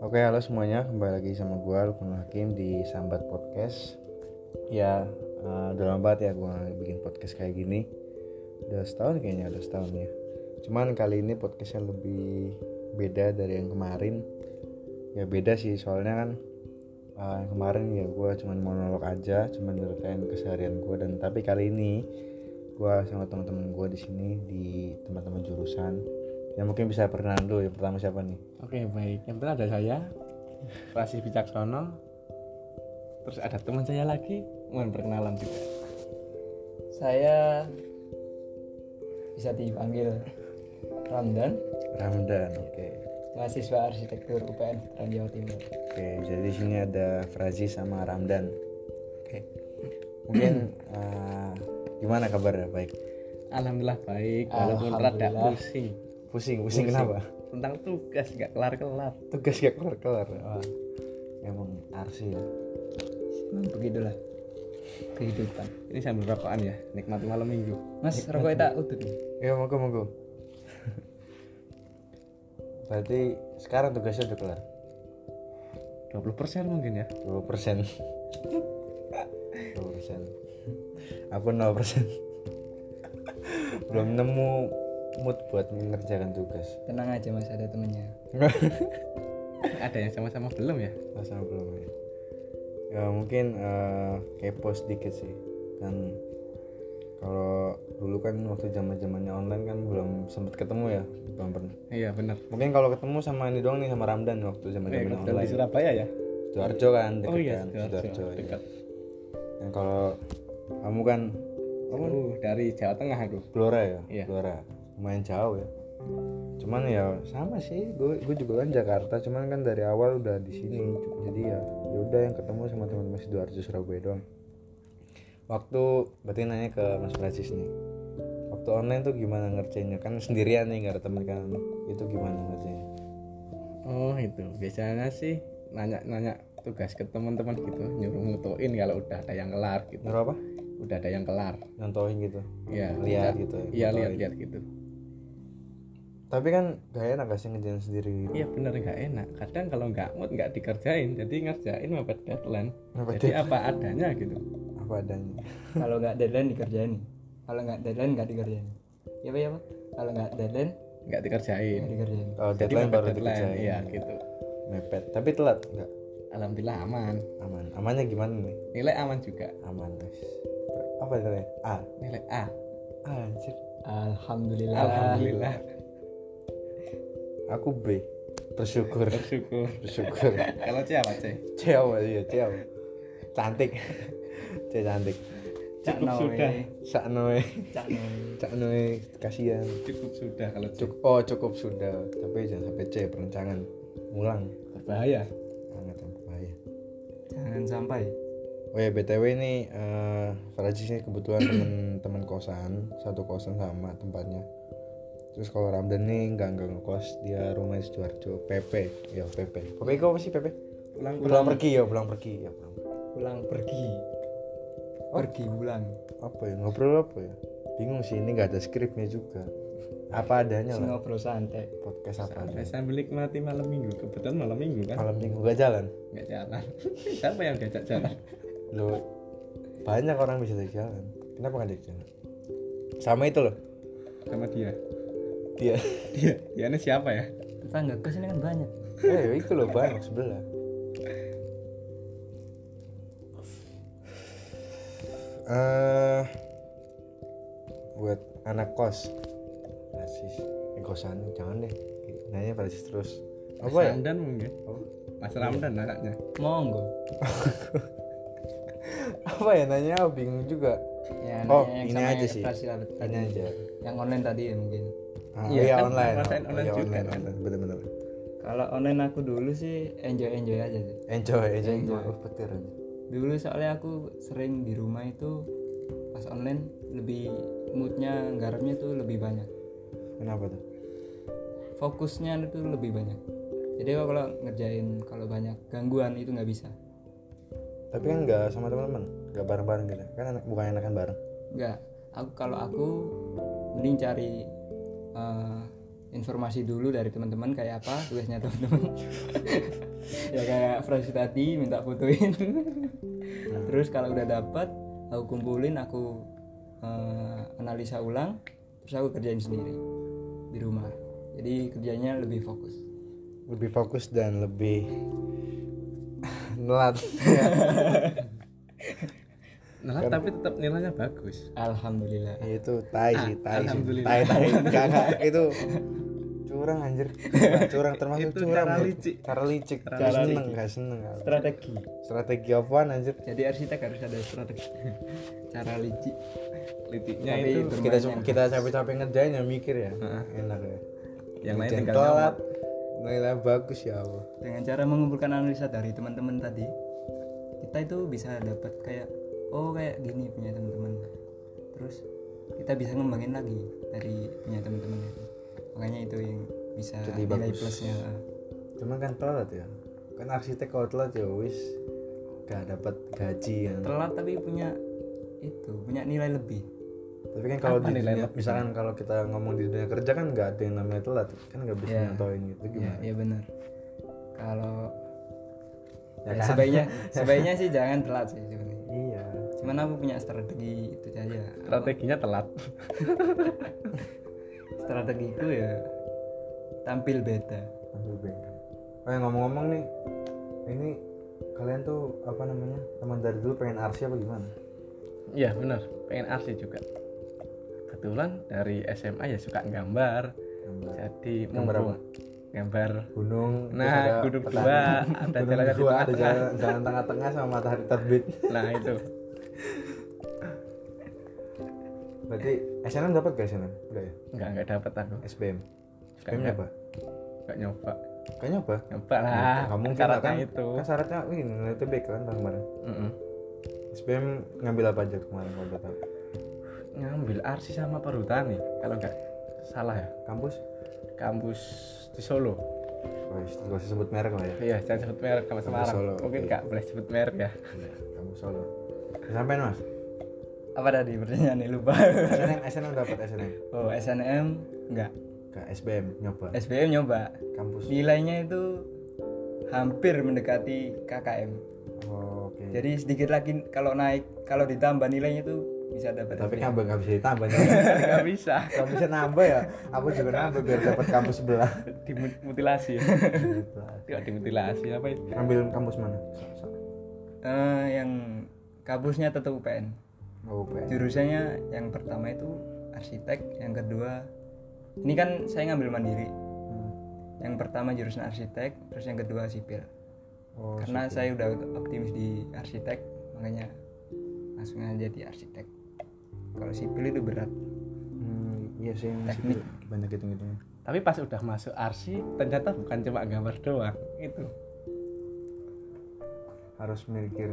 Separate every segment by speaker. Speaker 1: Oke, halo semuanya. Kembali lagi sama gue, Lukman Hakim di Sambat Podcast. Ya, eh, udah lama banget ya gue bikin podcast kayak gini. Udah setahun kayaknya, udah setahun ya. Cuman kali ini podcastnya lebih beda dari yang kemarin. Ya beda sih, soalnya kan eh, yang kemarin ya gue cuman monolog aja, cuman nyeritain keseharian gue. Dan tapi kali ini gue sama teman-teman gue di sini di teman-teman jurusan. Ya mungkin bisa Fernando. Yang pertama siapa nih?
Speaker 2: Oke baik, yang pertama ada saya Rasi Bijaksono Terus ada teman saya lagi Mohon perkenalan juga
Speaker 3: saya bisa dipanggil Ramdan
Speaker 1: Ramdan. Oke.
Speaker 3: mahasiswa arsitektur UPN Veteran Jawa Timur
Speaker 1: Oke, jadi di sini ada Frazi sama Ramdan. Oke. Mungkin eh, gimana kabarnya? Baik.
Speaker 2: Alhamdulillah baik, walaupun rada
Speaker 3: Alhamdulillah.
Speaker 2: pusing
Speaker 1: Pusing, pusing, kenapa?
Speaker 2: Tentang tugas, nggak kelar-kelar
Speaker 1: Tugas gak kelar-kelar. Wah. Oh. Emang arsi ya.
Speaker 3: Emang begitulah kehidupan
Speaker 2: Ini sambil rokokan ya, nikmati malam minggu
Speaker 3: Mas rokok tak udut nih.
Speaker 1: Ya, monggo monggo. Berarti sekarang tugasnya udah kelar.
Speaker 2: 20% mungkin ya
Speaker 1: 20 persen. 20 persen. Aku 0 persen. Belum nemu mood buat mengerjakan tugas.
Speaker 3: tenang aja Mas ada temennya
Speaker 2: Ada yang sama-sama belum ya
Speaker 1: Masa belum ya? Ya mungkin eh, kepo sedikit sih kan kalau dulu kan waktu zaman zamannya online kan belum sempet ketemu ya belum pernah.
Speaker 2: Iya bener
Speaker 1: Mungkin kalau ketemu sama ini doang nih sama Ramdan waktu zaman
Speaker 2: Iya,
Speaker 1: zamannya
Speaker 2: kebetulan di
Speaker 1: online.
Speaker 2: Surabaya ya
Speaker 1: Sidoarjo kan dekat
Speaker 2: Oh iya,
Speaker 1: kan
Speaker 2: Sidoarjo,
Speaker 1: Sidoarjo. iya.
Speaker 2: dekat.
Speaker 1: Dan kalau kamu kan kamu
Speaker 2: Oh dari Jawa Tengah aku
Speaker 1: Blora ya,
Speaker 2: Iya.
Speaker 1: Blora. Lumayan jauh ya. Cuman ya sama sih, gue gue juga kan Jakarta, cuman kan dari awal udah di sini. Jadi ya ya udah yang ketemu sama teman-teman Sidoarjo Surabaya doang. Waktu berarti nanya ke Mas Francis nih. Waktu online tuh gimana ngerjainnya? Kan sendirian nih gak ada teman kan. Itu gimana ngerjainnya?
Speaker 2: Oh itu, biasanya sih nanya-nanya tugas ke teman-teman gitu Nyuruh mutuin kalau udah ada yang kelar gitu
Speaker 1: Nyuruh apa?
Speaker 2: Udah ada yang kelar
Speaker 1: Nyontohin gitu.
Speaker 2: Iya,
Speaker 1: Lihat gitu.
Speaker 2: Iya
Speaker 1: nyontohin.
Speaker 2: lihat-lihat gitu.
Speaker 1: Tapi kan gak enak gak sih ngerjain sendiri gitu.
Speaker 2: Iya bener nggak enak. Kadang kalau nggak mood nggak dikerjain, jadi ngerjain mepet deadline.
Speaker 1: Mepet
Speaker 2: jadi apa adanya gitu.
Speaker 1: Apa adanya.
Speaker 3: kalau nggak deadline dikerjain kalau nggak deadline nggak dikerjain ya apa ya Pak? kalau nggak deadline
Speaker 2: Nggak dikerjain.
Speaker 3: nggak dikerjain
Speaker 1: Kalau
Speaker 2: Jadi
Speaker 1: deadline
Speaker 2: mepet
Speaker 1: baru dikerjain.
Speaker 2: Iya gitu.
Speaker 1: Mepet. Tapi telat enggak?
Speaker 2: Alhamdulillah aman.
Speaker 1: Aman. Amannya gimana nih?
Speaker 2: Nilai aman juga.
Speaker 1: aman guys apa nilainya A
Speaker 2: Nilai A.
Speaker 1: A anjir
Speaker 3: Alhamdulillah
Speaker 2: Alhamdulillah.
Speaker 1: aku B bersyukur
Speaker 2: Bersyukur.
Speaker 1: bersyukur
Speaker 2: kalau C apa C?
Speaker 1: C apa iya C apa cantik C cantik
Speaker 3: Cak
Speaker 2: Cukup
Speaker 3: Noe.
Speaker 2: sudah.
Speaker 1: Cak Noe
Speaker 3: Cak Noe.
Speaker 1: Cak Noe eh. kasihan
Speaker 2: Cukup sudah kalau C.
Speaker 1: Cuk- oh cukup sudah tapi jangan sampai C perencangan ulang
Speaker 2: Bahaya.
Speaker 1: sangat bahaya
Speaker 3: jangan sampai
Speaker 1: Oh ya btw ini eh Faraji sih kebetulan temen-temen kosan satu kosan sama tempatnya. Terus kalau Ramdan nih nggak nggak ngekos dia rumahnya Sidoarjo PP ya PP. PP kok apa sih PP?
Speaker 2: Pulang
Speaker 1: Pulang pergi ya pulang pergi ya pulang. pergi.
Speaker 3: pulang pergi pergi pulang
Speaker 1: Apa ya ngobrol apa ya? Bingung sih ini nggak ada skripnya juga. Apa adanya
Speaker 3: Sing
Speaker 1: lah
Speaker 3: ngobrol santai
Speaker 1: podcast apa
Speaker 2: Sampai
Speaker 1: adanya.
Speaker 2: sambil nikmati malam minggu. Kebetulan malam minggu kan.
Speaker 1: Malam minggu nggak jalan.
Speaker 2: Nggak jalan. Siapa yang diajak jalan?
Speaker 1: Lo banyak orang bisa diajak jalan. Kenapa nggak diajak jalan? Sama itu loh.
Speaker 2: Sama dia.
Speaker 1: Dia.
Speaker 2: Dia. Dia ini siapa ya?
Speaker 3: tetangga ke sini kan banyak
Speaker 1: Eh, itu loh banyak sebelah. Eh buat anak kos. Rasis. Eh, kosan jangan deh. Nanya rasis terus. Apa
Speaker 2: Mas
Speaker 1: ya? Iya.
Speaker 2: Ramdan mungkin.
Speaker 1: Apa?
Speaker 2: Mas Ramdan anaknya.
Speaker 3: monggo
Speaker 1: Apa ya nanya? Aku bingung juga.
Speaker 3: Ya,
Speaker 1: Oh,
Speaker 3: nanya yang
Speaker 1: ini
Speaker 3: sama
Speaker 1: aja
Speaker 3: yang
Speaker 1: sih.
Speaker 3: kelas ya, lah, tadi.
Speaker 1: Tanya aja.
Speaker 3: Yang online tadi ya mungkin.
Speaker 1: Ah,
Speaker 2: Iya,
Speaker 1: iya,
Speaker 2: kan
Speaker 1: online.
Speaker 2: ngerasain
Speaker 1: Oh,
Speaker 2: online
Speaker 1: iya,
Speaker 2: juga
Speaker 1: online,
Speaker 2: kan.
Speaker 1: online. Bener-bener.
Speaker 3: Kalau online aku dulu sih enjoy enjoy aja sih.
Speaker 1: Enjoy, enjoy.
Speaker 3: Enjoy.
Speaker 1: Oh, petir aja.
Speaker 3: Dulu soalnya aku sering di rumah itu pas online lebih moodnya garamnya tuh lebih banyak.
Speaker 1: Kenapa tuh?
Speaker 3: Fokusnya itu lebih banyak. Jadi kalau ngerjain kalau banyak gangguan itu nggak bisa.
Speaker 1: tapi kan nggak sama teman-teman nggak bareng-bareng gitu kan enak, bukan enakan bareng
Speaker 3: Enggak, aku kalau aku mending cari eh, informasi dulu dari teman-teman kayak apa tugasnya teman-teman. ya kayak Francis tadi minta fotoin. Terus kalau udah dapat aku kumpulin, aku eh, analisa ulang, terus aku kerjain sendiri di rumah. Jadi kerjanya lebih fokus.
Speaker 1: lebih fokus dan lebih nelat
Speaker 2: Nah,
Speaker 1: Kan-
Speaker 2: tapi tetap nilainya bagus.
Speaker 3: Alhamdulillah.
Speaker 1: itu tai sih tai sih
Speaker 2: Ah, Alhamdulillah.
Speaker 1: tai tai enggak enggak itu curang anjir curang, curang termasuk
Speaker 2: Itu
Speaker 1: curang
Speaker 2: cara licik.
Speaker 1: cara licik
Speaker 2: Cara
Speaker 1: gak
Speaker 2: licik.
Speaker 1: seneng gak seneng
Speaker 3: Strategi.
Speaker 1: strategi apaan anjir
Speaker 3: Jadi arsitek harus ada strategi. Cara licik.
Speaker 2: Litiknya
Speaker 3: Tapi
Speaker 2: itu
Speaker 1: kita
Speaker 3: bermainnya
Speaker 1: kita capek-capek ngerjain ya mikir ya enak ya
Speaker 2: yang lain
Speaker 1: Ngerjain
Speaker 2: tinggal
Speaker 1: telat
Speaker 2: nyawat.
Speaker 1: nilai bagus ya Allah
Speaker 3: dengan cara mengumpulkan analisa dari teman-teman tadi kita itu bisa dapat kayak oh kayak gini punya teman-teman terus kita bisa ngembangin lagi dari punya teman-teman itu makanya itu yang bisa
Speaker 1: Jadi
Speaker 3: nilai
Speaker 1: bagus.
Speaker 3: plusnya
Speaker 1: cuman kan telat ya kan arsitek kalau telat ya wis gak dapat gaji ya
Speaker 3: telat tapi punya itu punya nilai lebih
Speaker 1: tapi kan kalau
Speaker 2: Apa
Speaker 1: di
Speaker 2: nilai
Speaker 1: dunia,
Speaker 2: lebih?
Speaker 1: misalkan kalau kita ngomong di dunia kerja kan nggak ada yang namanya telat kan nggak bisa
Speaker 2: Iya.
Speaker 3: Ya.
Speaker 1: nyontoin gitu
Speaker 3: ya,
Speaker 1: gimana
Speaker 3: ya benar kalau
Speaker 1: Ya
Speaker 3: ya,
Speaker 1: kan?
Speaker 3: sebaiknya sebaiknya sih jangan telat sih sebenarnya
Speaker 1: iya
Speaker 3: cuman aku punya strategi itu aja Apa-
Speaker 2: Strateginya telat.
Speaker 3: strategiku ya tampil beda
Speaker 1: Aduh, Ben. oh ya ngomong-ngomong nih ini kalian tuh apa namanya teman dari dulu pengen arsi apa gimana
Speaker 2: Iya benar, pengen asli juga. Kebetulan dari SMA ya suka gambar.
Speaker 1: Gambar.
Speaker 2: Jadi
Speaker 1: Gambar apa?
Speaker 2: mumpung gambar
Speaker 1: gunung terus
Speaker 2: Nah,
Speaker 1: ada
Speaker 2: gunung
Speaker 1: petani.
Speaker 2: dua, ada
Speaker 1: Gunung
Speaker 2: jalannya di
Speaker 1: dua, ada
Speaker 2: tengah-tengah.
Speaker 1: jalan, jalan tengah-tengah sama matahari terbit
Speaker 2: nah itu
Speaker 1: berarti SNM dapat gak SNM enggak ya
Speaker 2: nggak nggak dapat aku
Speaker 1: SBM
Speaker 2: Nggak
Speaker 1: SBM apa
Speaker 2: nggak nyoba
Speaker 1: kayaknya apa
Speaker 2: nyoba lah
Speaker 1: Nggak mungkin lah,
Speaker 2: syaratnya
Speaker 1: kan,
Speaker 2: itu
Speaker 1: kan syaratnya ini nilai TBK kan tahun kemarin
Speaker 2: Mm-mm.
Speaker 1: SBM ngambil apa aja kemarin kalau boleh tahu
Speaker 2: ngambil arsi sama perhutani kalau nggak salah ya
Speaker 1: kampus
Speaker 2: kampus di Solo
Speaker 1: Wah, gak Oh, iya, usah sebut merek lah ya.
Speaker 2: iya jangan sebut merek kalau Semarang
Speaker 1: Solo,
Speaker 2: mungkin
Speaker 1: oke.
Speaker 2: nggak boleh sebut merek ya
Speaker 1: Kamu Iya, solo. Sampai mas.
Speaker 3: apa tadi pertanyaan nih lupa
Speaker 1: SNM, SNM dapat SNM.
Speaker 3: oh SNM enggak
Speaker 1: Ke SBM nyoba.
Speaker 3: SBM nyoba
Speaker 1: Kampus.
Speaker 3: nilainya itu hampir mendekati KKM
Speaker 1: Oh, Oke.
Speaker 3: jadi sedikit lagi kalau naik kalau ditambah nilainya itu bisa dapat
Speaker 1: Tapi
Speaker 3: SBM.
Speaker 1: kan nggak bisa ditambah. nih.
Speaker 2: nggak bisa
Speaker 1: Nggak bisa nambah ya. Aku juga nambah biar dapat kampus sebelah.
Speaker 2: dimutilasi ya tidak dimutilasi apa itu
Speaker 1: Ambil kampus mana?
Speaker 3: Eh, yang kampusnya tetap UPN
Speaker 1: Oh, UPN.
Speaker 3: jurusannya yang pertama itu arsitek yang kedua ini kan saya ngambil mandiri
Speaker 1: Hmm.
Speaker 3: yang pertama jurusan arsitek terus yang kedua sipil
Speaker 1: Oh,
Speaker 3: karena
Speaker 1: sip.
Speaker 3: saya udah optimis di arsitek makanya langsung aja di arsitek kalau sipil itu berat
Speaker 1: Hmm, iya sih yang situ
Speaker 3: Teknik.
Speaker 1: banyak hitung hitungnya.
Speaker 2: tapi pas udah masuk arsi ternyata bukan cuma gambar doang itu
Speaker 1: Harus mikir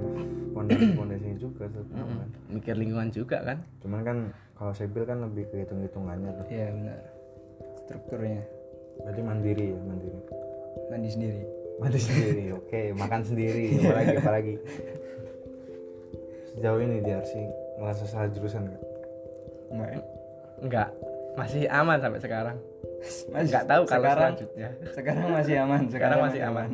Speaker 1: pondasi-pondasinya juga tetap kan.
Speaker 2: mikir lingkungan juga kan
Speaker 1: Cuman kan kalau sipil kan lebih ke hitung hitungannya tuh.
Speaker 3: iya benar strukturnya
Speaker 1: Berarti mandiri ya mandiri.
Speaker 3: mandi sendiri
Speaker 1: mandi sendiri oke makan sendiri apalagi apalagi sejauh ini di RC merasa salah jurusan nggak
Speaker 3: enggak ya?
Speaker 2: nggak masih aman sampai sekarang
Speaker 3: Mas,
Speaker 2: nggak tahu kalau
Speaker 3: sekarang
Speaker 2: selanjutnya
Speaker 3: sekarang masih aman sekarang,
Speaker 2: masih aman.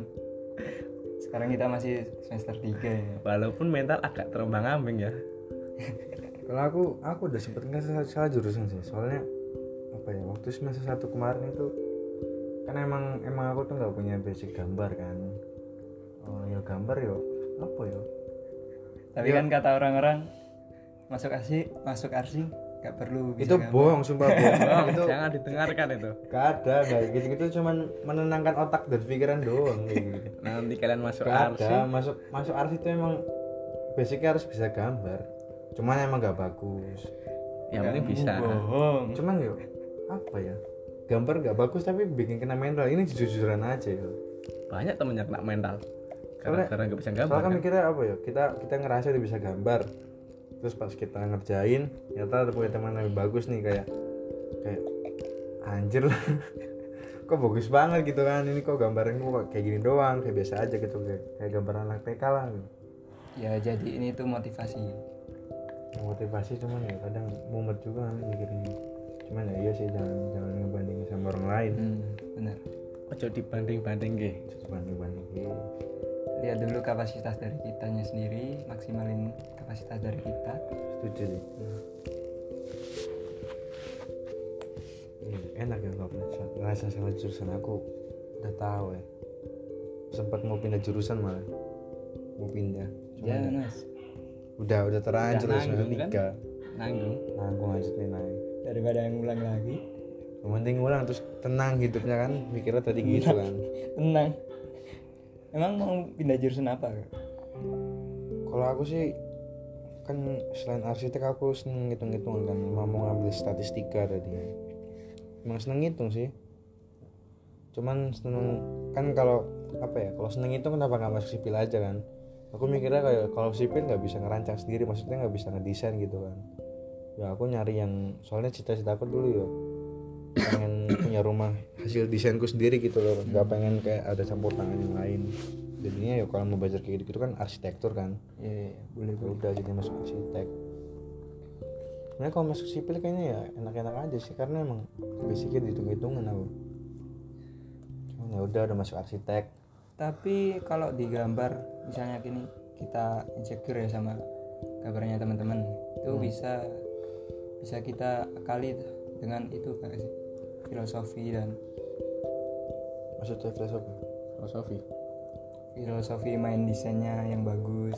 Speaker 3: sekarang kita masih semester 3 ya
Speaker 2: walaupun mental agak terombang ambing ya
Speaker 1: kalau aku aku udah sempet nggak salah, salah jurusan sih soalnya apa ya waktu semester satu kemarin itu kan emang emang aku tuh nggak punya basic gambar kan oh ya gambar yo apa ya? yo
Speaker 3: tapi kan kata orang-orang masuk arsi masuk arsi nggak perlu bisa
Speaker 1: itu
Speaker 3: gambar.
Speaker 1: bohong sumpah bohong
Speaker 2: Bang,
Speaker 1: itu
Speaker 2: jangan didengarkan itu
Speaker 1: gak ada kayak gitu gitu cuman menenangkan otak dan pikiran doang kayak gitu.
Speaker 2: nanti kalian masuk
Speaker 1: Gak
Speaker 2: arsi
Speaker 1: ada masuk masuk arsi itu emang basicnya harus bisa gambar cuman emang gak bagus
Speaker 2: yang penting
Speaker 3: Kamu
Speaker 2: bisa
Speaker 3: bohong
Speaker 1: cuman yuk apa ya gambar gak bagus tapi bikin kena mental ini jujur-jujuran aja ya
Speaker 2: banyak temennya kena mental
Speaker 1: Soalnya-
Speaker 2: karena karena nggak bisa gambar
Speaker 1: soalnya kan
Speaker 2: kan?
Speaker 1: mikirnya apa ya kita kita ngerasa udah bisa gambar terus pas kita ngerjain ternyata ada punya teman yang lebih bagus nih kayak kayak anjir lah kok bagus banget gitu kan ini kok gambarnya kok kayak gini doang kayak biasa aja gitu kayak, kayak gambar anak TK lah gitu.
Speaker 3: ya jadi ini tuh motivasi
Speaker 1: motivasi cuman ya kadang mumet juga kan mikirnya cuman ya iya sih jangan jangan ngebandingin sama orang lain
Speaker 3: hmm, benar
Speaker 2: ojo dibanding banding ke
Speaker 1: banding bandingin
Speaker 3: lihat dulu kapasitas dari kitanya sendiri maksimalin kapasitas dari kita
Speaker 1: setuju sih Iya, enak ya kalau ngerasa, ngerasa sama jurusan aku udah tahu ya sempat mau pindah jurusan malah mau pindah Cuman
Speaker 3: ya Nas
Speaker 1: udah udah terlanjur
Speaker 3: Udah
Speaker 1: ya, semester
Speaker 3: nanggung, kan?
Speaker 1: tiga
Speaker 3: nanggung
Speaker 1: nanggung aja nih naik
Speaker 3: daripada yang ulang lagi
Speaker 1: yang penting ulang terus tenang hidupnya kan mikirnya tadi gitu kan
Speaker 3: tenang emang mau pindah jurusan apa
Speaker 1: kalau aku sih kan selain arsitek aku seneng ngitung-ngitungan kan emang mau ngambil statistika tadi emang seneng ngitung sih cuman seneng kan kalau apa ya kalau seneng ngitung kenapa nggak masuk sipil aja kan aku mikirnya kayak kalau sipil nggak bisa ngerancang sendiri maksudnya nggak bisa ngedesain gitu kan ya aku nyari yang soalnya cita-cita aku dulu ya pengen punya rumah hasil desainku sendiri gitu loh nggak pengen kayak ada campur tangan yang lain jadinya ya kalau mau belajar kayak gitu kan arsitektur kan
Speaker 3: ya,
Speaker 1: boleh udah jadi masuk arsitek Nah kalau masuk sipil kayaknya ya enak-enak aja sih karena emang basicnya dihitung-hitungan aku. Cuman ya udah udah masuk arsitek.
Speaker 3: tapi kalau digambar misalnya gini kita insecure ya sama gambarnya teman-teman itu bisa bisa kita akali tuh dengan itu kayak sih filosofi dan
Speaker 1: Maksudnya filosofi.
Speaker 2: filosofi
Speaker 3: filosofi main desainnya yang bagus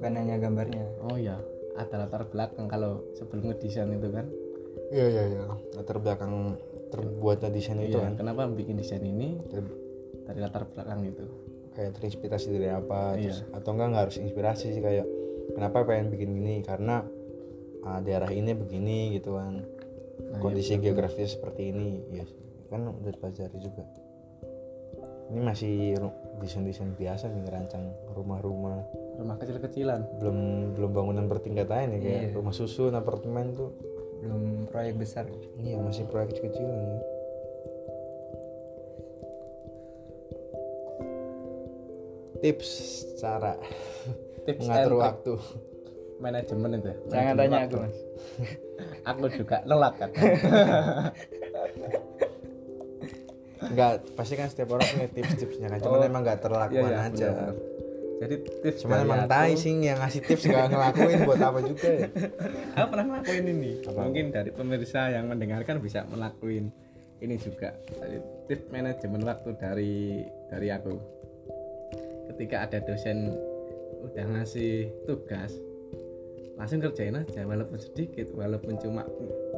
Speaker 3: bukan hanya gambarnya
Speaker 2: oh ya ada latar belakang kalau sebelum ngedesain itu kan
Speaker 1: Iya iya iya. Latar belakang terbuatnya desain itu
Speaker 2: Iya,
Speaker 1: kan
Speaker 2: kenapa bikin desain ini
Speaker 1: ter-
Speaker 2: dari latar belakang itu
Speaker 1: kayak terinspirasi dari apa
Speaker 2: Iya.
Speaker 1: terus atau enggak nggak harus inspirasi sih kayak kenapa pengen bikin gini karena ah, daerah ini begini gitu kan
Speaker 2: Nah,
Speaker 1: kondisi geografisnya seperti ini ya kan udah dipelajari juga ini masih ru- desain-desain biasa nih ngerancang rumah-rumah
Speaker 2: rumah kecil-kecilan
Speaker 1: belum belum bangunan bertingkat aja nih kayak
Speaker 3: Iya.
Speaker 1: rumah susun apartemen tuh
Speaker 3: belum proyek besar
Speaker 1: iya masih proyek kecil-kecilan ya. tips cara
Speaker 2: tips
Speaker 1: mengatur
Speaker 2: and
Speaker 1: waktu
Speaker 2: trick manajemen itu ya.
Speaker 3: jangan
Speaker 2: Manajemen
Speaker 3: tanya
Speaker 2: waktu.
Speaker 3: aku mas
Speaker 2: aku juga lelat kan
Speaker 1: enggak pasti kan setiap orang punya tips-tipsnya kan cuman
Speaker 2: Oh.
Speaker 1: emang enggak
Speaker 2: Iya,
Speaker 1: terlakuan
Speaker 2: iya,
Speaker 1: aja
Speaker 2: benar-benar. jadi tips
Speaker 1: cuman
Speaker 2: dari
Speaker 1: emang
Speaker 2: aku-
Speaker 1: tai sih yang ngasih tips enggak ngelakuin buat apa juga ya
Speaker 2: aku pernah ngelakuin ini
Speaker 1: Apa?
Speaker 2: mungkin dari pemirsa yang mendengarkan bisa melakuin ini juga Jadi, tips manajemen waktu dari dari aku ketika ada dosen udah ngasih tugas langsung kerjain aja walaupun sedikit walaupun cuma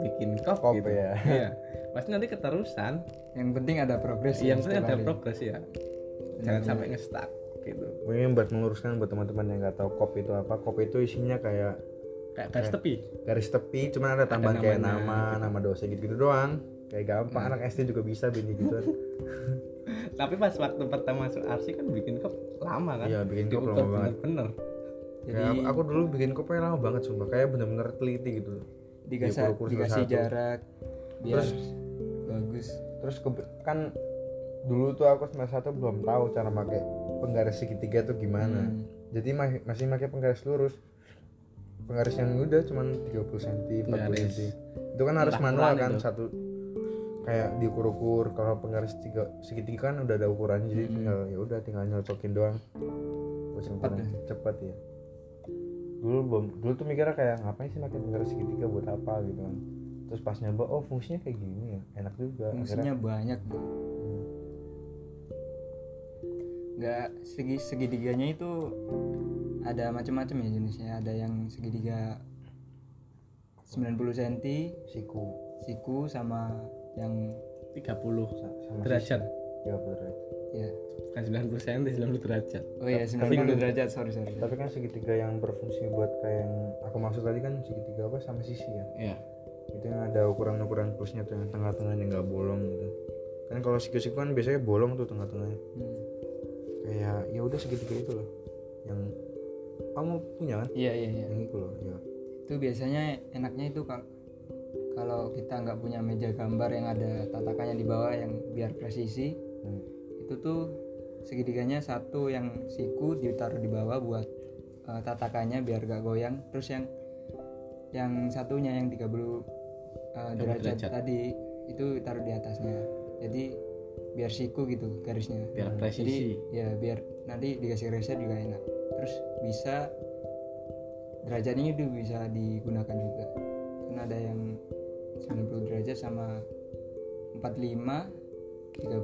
Speaker 2: bikin kop
Speaker 1: Kop,
Speaker 2: gitu
Speaker 1: ya.
Speaker 2: iya pasti nanti keterusan
Speaker 3: yang penting ada progres ya
Speaker 2: yang penting Iya,
Speaker 3: setiap
Speaker 2: ada
Speaker 3: hari.
Speaker 2: progres ya jangan
Speaker 3: Iya.
Speaker 2: sampai nge-stuck gitu
Speaker 1: Mungkin buat meluruskan buat teman-teman yang nggak tahu kop itu apa, kop itu isinya kayak
Speaker 2: kayak
Speaker 1: Iya.
Speaker 2: garis tepi
Speaker 1: garis tepi, cuman ada tambahan
Speaker 2: Ada
Speaker 1: kayak
Speaker 2: namanya,
Speaker 1: nama,
Speaker 2: gitu.
Speaker 1: nama dosen gitu, Hmm. doang. Kayak gampang, anak SD juga bisa bikin gitu.
Speaker 2: tapi pas waktu pertama masuk arsi kan bikin kop lama kan
Speaker 1: Iya, bikin kop lama
Speaker 2: Diukur
Speaker 1: banget.
Speaker 2: bener-bener
Speaker 3: jadi
Speaker 1: Kayak aku, Ya, aku dulu bikin kopnya lama banget sumpah, kayak bener-bener teliti gitu.
Speaker 3: digasa-
Speaker 1: diukur-ukur
Speaker 3: dikasih
Speaker 1: satu-satu.
Speaker 3: jarak biar
Speaker 1: Terus-
Speaker 3: bagus
Speaker 1: Terus ke- kan dulu tuh aku semester satu belum tahu cara pakai penggaris segitiga tuh gimana.
Speaker 3: Hmm.
Speaker 1: Jadi ma- masih pakai penggaris lurus. Penggaris yang udah cuman 30 cm, 40
Speaker 2: Penggaris.
Speaker 1: cm. Itu kan harus
Speaker 2: Entah
Speaker 1: manual
Speaker 2: ukuran
Speaker 1: kan
Speaker 2: itu.
Speaker 1: satu kayak diukur-ukur kalau penggaris tiga segitiga kan udah ada ukurannya jadi tinggal ya udah tinggal nyocokin doang cepet
Speaker 3: ya?
Speaker 1: cepet ya dulu belum dulu tuh mikirnya kayak ngapain sih pakai penggaris segitiga buat apa gitu kan terus pas nyoba oh fungsinya kayak gini ya enak juga
Speaker 3: fungsinya banyak nggak segi segidiganya itu ada macam-macam ya jenisnya ada yang segitiga 90 cm
Speaker 1: Akhirnya siku
Speaker 3: siku sama yang
Speaker 2: 30
Speaker 1: sa- sama
Speaker 2: derajat
Speaker 1: sisi. ya bener
Speaker 3: ya
Speaker 2: bukan 90 cm 90 derajat
Speaker 3: oh ya
Speaker 1: Tapi-
Speaker 3: 90 derajat sorry sorry
Speaker 1: tapi kan segitiga yang berfungsi buat kayak yang aku maksud tadi kan segitiga apa sama sisi ya
Speaker 2: ya
Speaker 1: itu yang ada ukuran-ukuran plusnya tuh yang tengah-tengahnya nggak bolong gitu kan kalau siku-siku kan biasanya bolong tuh tengah-tengahnya
Speaker 3: Hmm.
Speaker 1: kayak ya udah segitiga itu loh yang kamu punya kan
Speaker 3: iya iya iya
Speaker 1: yang itu loh ya
Speaker 3: itu biasanya enaknya itu kalau kalau kita nggak punya meja gambar yang ada tatakannya di bawah yang biar presisi
Speaker 1: Hmm.
Speaker 3: itu tuh segitiganya satu yang siku ditaruh di bawah buat eh, tatakannya biar gak goyang terus yang yang satunya yang 30 eh, derajat,
Speaker 2: derajat.
Speaker 3: tadi itu taruh di atasnya jadi biar siku gitu garisnya
Speaker 2: biar
Speaker 3: jadi
Speaker 2: presisi
Speaker 3: ya biar nanti dikasih reset juga enak terus bisa derajatnya itu bisa digunakan juga karena ada yang 90 derajat sama 45 30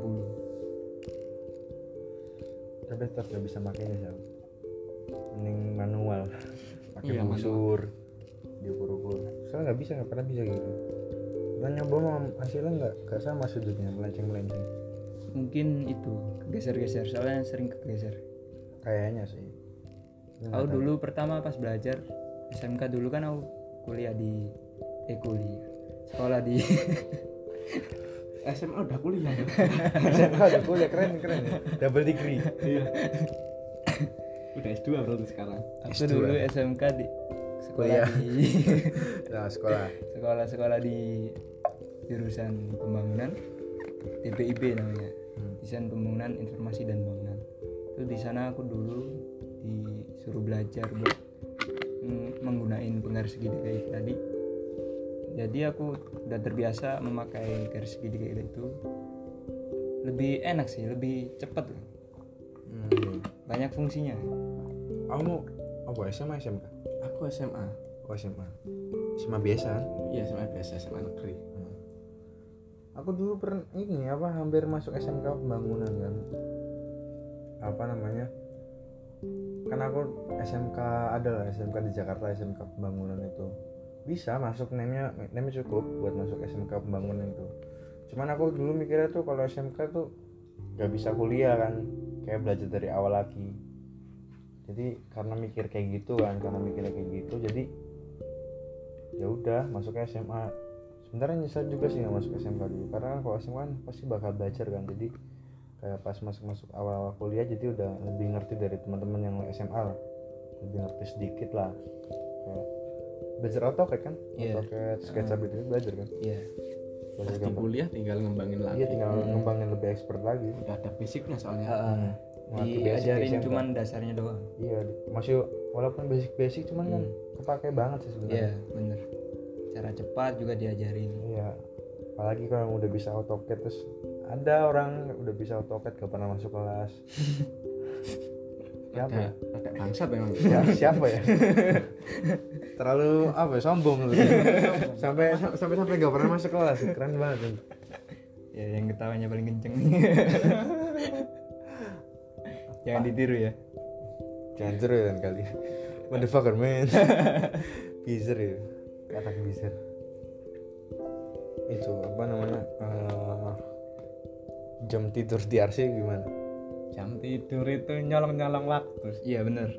Speaker 1: tapi tetap gak bisa pakai ini Sal. mending manual pakai
Speaker 3: Iya, manual.
Speaker 1: busur diukur-ukur soalnya nggak bisa nggak pernah bisa gitu pernah nyoba mau hasilnya nggak nggak sama sudutnya melenceng melenceng
Speaker 3: mungkin itu geser-geser soalnya sering kegeser
Speaker 1: kayaknya sih Ini nggak
Speaker 3: aku
Speaker 1: tahu.
Speaker 3: dulu pertama pas belajar SMK dulu kan aku kuliah di eh kuliah sekolah di
Speaker 2: SMA udah kuliah ya
Speaker 1: SMA udah kuliah keren keren ya. double degree
Speaker 2: iya udah S2 berarti sekarang
Speaker 3: aku
Speaker 1: S2.
Speaker 3: dulu SMK di sekolah
Speaker 1: Kuliah.
Speaker 3: di
Speaker 1: nah
Speaker 3: Ya,
Speaker 1: sekolah
Speaker 3: sekolah-sekolah di jurusan pembangunan TPIB namanya
Speaker 1: Hmm.
Speaker 3: desain pembangunan informasi dan bangunan itu di sana aku dulu disuruh belajar buat mm, menggunain penggaris segitiga itu tadi jadi aku udah terbiasa memakai garis segitiga itu lebih enak sih lebih cepet lah.
Speaker 1: hmm.
Speaker 3: banyak fungsinya
Speaker 1: aku mau apa SMA SMK
Speaker 2: aku SMA
Speaker 1: oh SMA SMA biasa kan?
Speaker 2: iya SMA biasa SMA negeri
Speaker 1: Hmm. aku dulu pernah ini apa hampir masuk SMK pembangunan kan apa namanya kan aku SMK ada lah SMK di Jakarta SMK pembangunan itu bisa masuk name-nya name cukup buat masuk SMK pembangunan itu cuman aku dulu mikirnya tuh kalau SMK tuh gak bisa kuliah kan kayak belajar dari awal lagi jadi karena mikir kayak gitu kan karena mikirnya kayak gitu jadi ya udah masuknya SMA sebenarnya nyesel juga sih nggak masuk SMK dulu karena kan kalau SMK kan pasti bakal belajar kan jadi kayak pas masuk masuk awal awal kuliah jadi udah lebih ngerti dari teman-teman yang SMA lah lebih ngerti sedikit lah kayak belajar AutoCAD kan
Speaker 3: Iya.
Speaker 1: AutoCAD SketchUp itu belajar kan
Speaker 3: iya
Speaker 1: belajar
Speaker 2: di
Speaker 1: gambar
Speaker 2: kuliah tinggal ngembangin lagi
Speaker 1: Iya tinggal
Speaker 3: Hmm.
Speaker 1: ngembangin lebih expert lagi.
Speaker 2: udah ada basicnya soalnya
Speaker 1: Waktu
Speaker 3: diajarin
Speaker 1: basic-basic
Speaker 3: Iya, cuman dasarnya doang
Speaker 1: kan. iya di- masih walaupun basic-basic cuman kan kepake banget sih
Speaker 3: Hmm. Iya
Speaker 1: sebenarnya.
Speaker 3: bener Cara cepat juga diajarin
Speaker 1: Iya. Apalagi kalau udah bisa AutoCAD terus ada orang udah bisa AutoCAD gak pernah masuk kelas. siapa?
Speaker 2: ada ada bangsat memang
Speaker 1: Ya, siapa ya? Terlalu apa ya, sombong lu. sampai sampai sampai gak pernah masuk kelas. Keren banget. Bang.
Speaker 3: Ya yang ketawanya paling kenceng Jangan ditiru ya
Speaker 1: Jangan seru ya, kan kali. Motherfucker man. Bizer ya. Kata bizer. Itu apa namanya? eh, jam tidur di RC gimana?
Speaker 2: jam tidur itu nyolong nyolong waktu
Speaker 3: Iya bener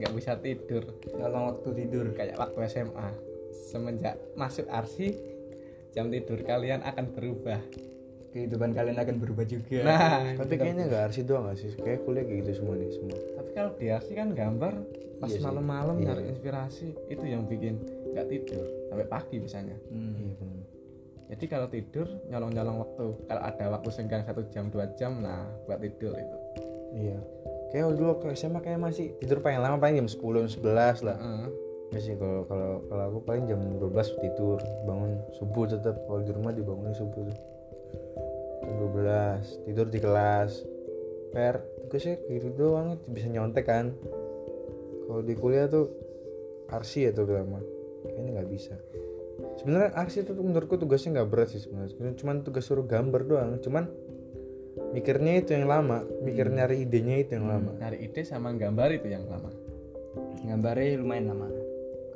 Speaker 2: nggak bisa tidur
Speaker 3: Tolong waktu tidur
Speaker 2: kayak waktu SMA semenjak masuk arsi jam tidur kalian akan berubah
Speaker 3: Kehidupan kalian akan berubah juga
Speaker 2: nah
Speaker 1: Tapi kayaknya nggak RC doang nggak sih? Kayak kuliah kayak gitu semua nih semua.
Speaker 2: tapi kalau di arsi kan gambar pas
Speaker 1: Iya sih.
Speaker 2: malam-malam
Speaker 1: Iya.
Speaker 2: nyari inspirasi itu yang bikin nggak tidur sampai pagi biasanya
Speaker 3: Hmm.
Speaker 1: Iya benar.
Speaker 2: jadi kalau tidur nyolong-nyolong waktu kalau ada waktu senggang satu jam dua jam nah buat tidur itu
Speaker 1: Iya. Kayak dulu waktu SMA kayak masih tidur paling lama paling jam 10 jam 11 lah.
Speaker 2: Heeh.
Speaker 1: Masih Iya kalau kalau kalau aku paling jam 12 tidur, bangun subuh tetap kalau di rumah dibangunnya subuh tuh. Jam 12 tidur di kelas. Per tugasnya gitu doang bisa nyontek kan. Kalau di kuliah tuh arsi ya tuh lama. Kayaknya nggak bisa. Sebenarnya arsi itu tuh menurutku tugasnya nggak berat sih sebenarnya. Cuman tugas suruh gambar doang. Cuman mikirnya itu yang lama, mikir nyari idenya itu yang lama.
Speaker 2: cari ide sama gambar itu yang lama
Speaker 1: Hmm.
Speaker 3: Gambarnya lumayan lama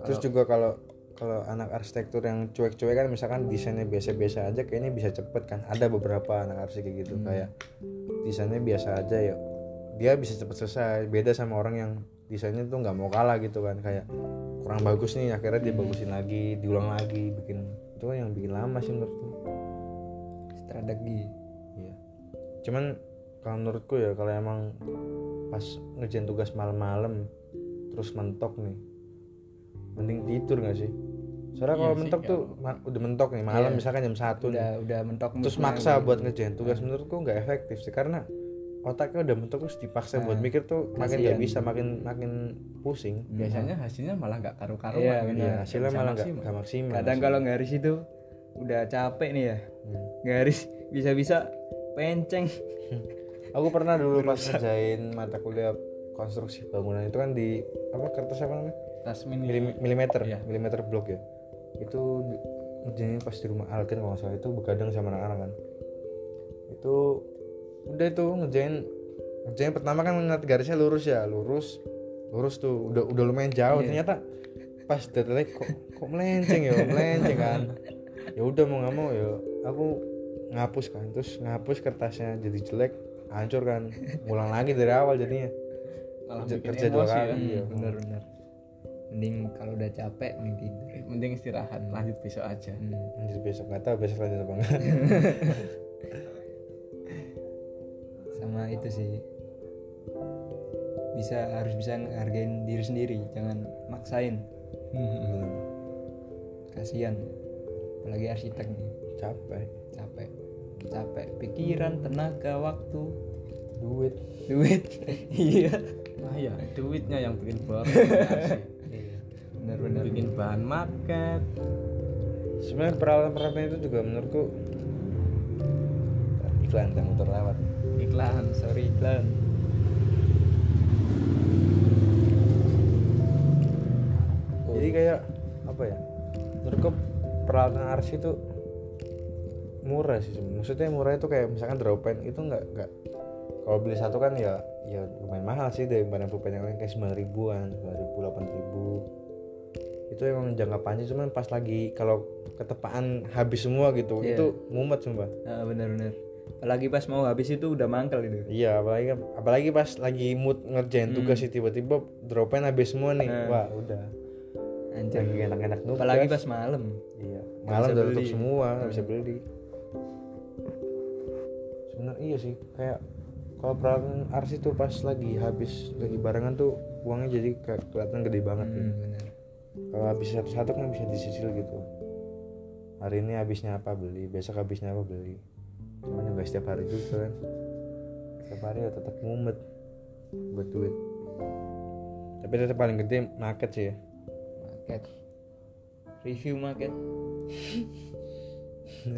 Speaker 1: Terus juga kalau kalau anak arsitektur yang cuek-cuek kan misalkan desainnya biasa-biasa aja kayaknya bisa cepet kan. Ada beberapa anak arsitek kayak gitu kayak desainnya biasa aja ya. Dia bisa cepet selesai. Beda sama orang yang desainnya tuh nggak mau kalah gitu kan kayak kurang bagus nih akhirnya dia bagusin lagi, diulang lagi, bikin itu kan yang bikin lama sih menurutku.
Speaker 3: Strategi
Speaker 1: Iya. Cuman kalau menurutku ya kalau emang pas ngerjain tugas malam-malam terus mentok nih mending tidur gak sih? Soalnya
Speaker 2: Iya
Speaker 1: kalau
Speaker 2: sih,
Speaker 1: mentok
Speaker 2: nggak
Speaker 1: tuh ma- udah mentok nih malam
Speaker 3: ya. Iya.
Speaker 1: misalkan jam satu nih.
Speaker 3: Udah udah mentok
Speaker 1: Terus
Speaker 3: moodnya
Speaker 1: maksa
Speaker 3: gitu.
Speaker 1: buat ngerjain tugas menurutku nggak efektif sih karena otaknya udah mentok terus dipaksa buat
Speaker 3: Nah,
Speaker 1: mikir tuh makin
Speaker 3: kasihan.
Speaker 1: nggak bisa makin makin pusing
Speaker 2: biasanya hasilnya malah nggak karu-karuan
Speaker 3: Iya,
Speaker 2: gitu.
Speaker 1: Iya, hasilnya
Speaker 2: Bisa
Speaker 1: malah nggak
Speaker 2: maksimal.
Speaker 1: nggak maksimal
Speaker 3: kadang kalau garis itu udah capek nih ya
Speaker 1: Hmm.
Speaker 3: garis bisa-bisa penceng
Speaker 1: aku pernah dulu pas ngerjain mata kuliah konstruksi bangunan itu kan di apa kertas apa namanya
Speaker 2: Tasmin
Speaker 1: Milim- milimeter
Speaker 2: Iya.
Speaker 1: milimeter blok ya itu di- ngerjainnya pas di rumah Alkin kalau nggak salah itu begadang sama anak-anak kan itu udah itu ngerjain ngerjain pertama kan ngeliat garisnya lurus ya lurus lurus tuh udah udah lumayan jauh
Speaker 3: Iya.
Speaker 1: ternyata pas detik kok kok melenceng ya melenceng kan ya udah mau nggak mau ya aku ngapus kan terus ngapus kertasnya jadi jelek hancur kan ngulang lagi dari awal jadinya
Speaker 2: malah
Speaker 1: kerja-
Speaker 2: bikin
Speaker 1: kerja dua
Speaker 2: emosi
Speaker 1: kali.
Speaker 2: ya.
Speaker 1: Iya.
Speaker 3: bener-bener mending kalau udah capek mending tidur
Speaker 2: mending istirahat lanjut besok aja
Speaker 3: Hmm.
Speaker 1: lanjut besok nggak tahu besok lanjut apa enggak
Speaker 3: sama itu sih bisa harus bisa ngehargain diri sendiri jangan maksain kasihan apalagi arsitek nih
Speaker 1: capek
Speaker 3: capek capek pikiran tenaga waktu
Speaker 1: duit
Speaker 3: duit iya
Speaker 2: ah ya duitnya yang bikin boros
Speaker 3: bener-bener
Speaker 2: bikin bahan market
Speaker 1: sebenarnya peralatan-peralatan itu juga menurutku iklan yang motor lewat
Speaker 2: iklan
Speaker 3: sorry iklan Oh.
Speaker 1: jadi kayak apa ya menurutku peralatan arsi itu murah sih sebenarnya. maksudnya murah itu kayak misalkan dropen itu nggak nggak kalau beli satu kan ya ya lumayan mahal sih daripada pulpen yang lain kayak sembilan ribuan sembilan ribu delapan ribu itu emang jangka panjang cuman pas lagi kalau ketepaan habis semua gitu
Speaker 3: Iya.
Speaker 1: itu mumet sumpah
Speaker 3: nah, bener-bener apalagi pas mau habis itu udah mangkel gitu
Speaker 1: Iya, apalagi apalagi pas lagi mood ngerjain tugas sih tiba-tiba dropen habis semua nih.
Speaker 3: Hmm. Nah.
Speaker 1: Wah, udah.
Speaker 3: anjir
Speaker 1: Lagi enak-enak nugas.
Speaker 3: apalagi pas malam
Speaker 1: iya,
Speaker 3: nggak
Speaker 1: malam
Speaker 3: bisa
Speaker 1: udah tutup
Speaker 3: beli. Iya.
Speaker 1: semua, nggak bisa beli. Sebenarnya iya sih, kayak kalau peralatan arsi tuh pas lagi habis lagi barengan tuh uangnya jadi ke- kelihatan gede banget. gitu.
Speaker 3: Hmm, bener.
Speaker 1: Kalau habis satu-satu kan bisa disicil gitu. Hari ini habisnya apa beli, besok habisnya apa beli. Cuman nggak setiap hari juga kan. Setiap hari ya tetap mumet buat duit. Tapi tetap paling gede market sih ya.
Speaker 3: market review market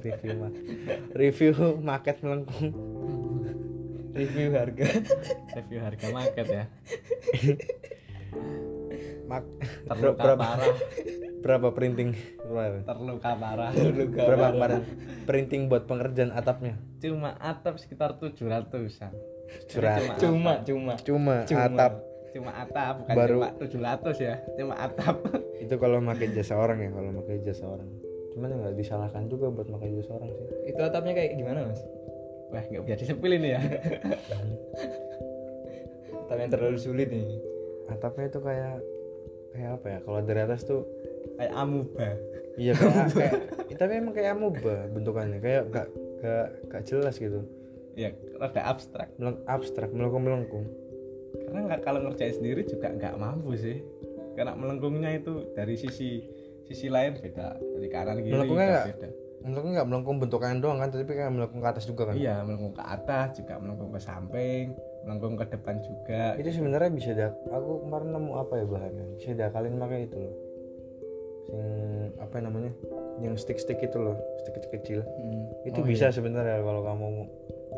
Speaker 1: review ma review market melengkung.
Speaker 3: review harga
Speaker 2: review harga market ya
Speaker 1: Mak
Speaker 2: terluka
Speaker 1: berapa
Speaker 2: parah
Speaker 1: berapa printing kemarin?
Speaker 2: terluka parah
Speaker 1: Berapa kemarin printing buat pengerjaan atapnya?
Speaker 2: cuma atap sekitar 700an
Speaker 1: Curhat.
Speaker 3: cuma cuma
Speaker 1: Cuma,
Speaker 3: Cuma.
Speaker 1: atap
Speaker 2: cuma atap bukan
Speaker 1: Baru-
Speaker 2: cuma 700 ya cuma atap
Speaker 1: itu kalau pakai jasa orang ya, kalau pakai jasa orang. Cuman ya nggak disalahkan juga buat pakai jasa orang sih.
Speaker 3: itu atapnya kayak gimana mas
Speaker 2: wah nggak bisa disepilin ya
Speaker 3: atap yang terlalu sulit nih
Speaker 1: atapnya itu kayak kayak apa ya kalau dari atas tuh
Speaker 2: kayak amuba
Speaker 1: iya kayak, kayak tapi emang kayak amuba bentukannya kayak gak gak gak jelas gitu
Speaker 2: ya rada abstrak
Speaker 1: Meleng, abstrak melengkung melengkung
Speaker 2: karena nggak kalau ngerjain sendiri juga nggak mampu sih karena melengkungnya itu dari sisi sisi lain beda dari kanan kiri
Speaker 1: Melengkungnya
Speaker 2: juga
Speaker 1: nggak?
Speaker 2: beda
Speaker 1: melengkung nggak melengkung bentukannya doang kan tapi kayak melengkung ke atas juga kan
Speaker 2: iya melengkung ke atas juga melengkung ke samping melengkung ke depan juga
Speaker 1: itu sebenarnya bisa dak aku kemarin nemu apa ya bahannya bisa dakalin pakai itu loh sing apa namanya yang stick stick itu loh stick stick kecil
Speaker 2: Hmm. Oh,
Speaker 1: itu
Speaker 2: iya.
Speaker 1: bisa sebenarnya kalau kamu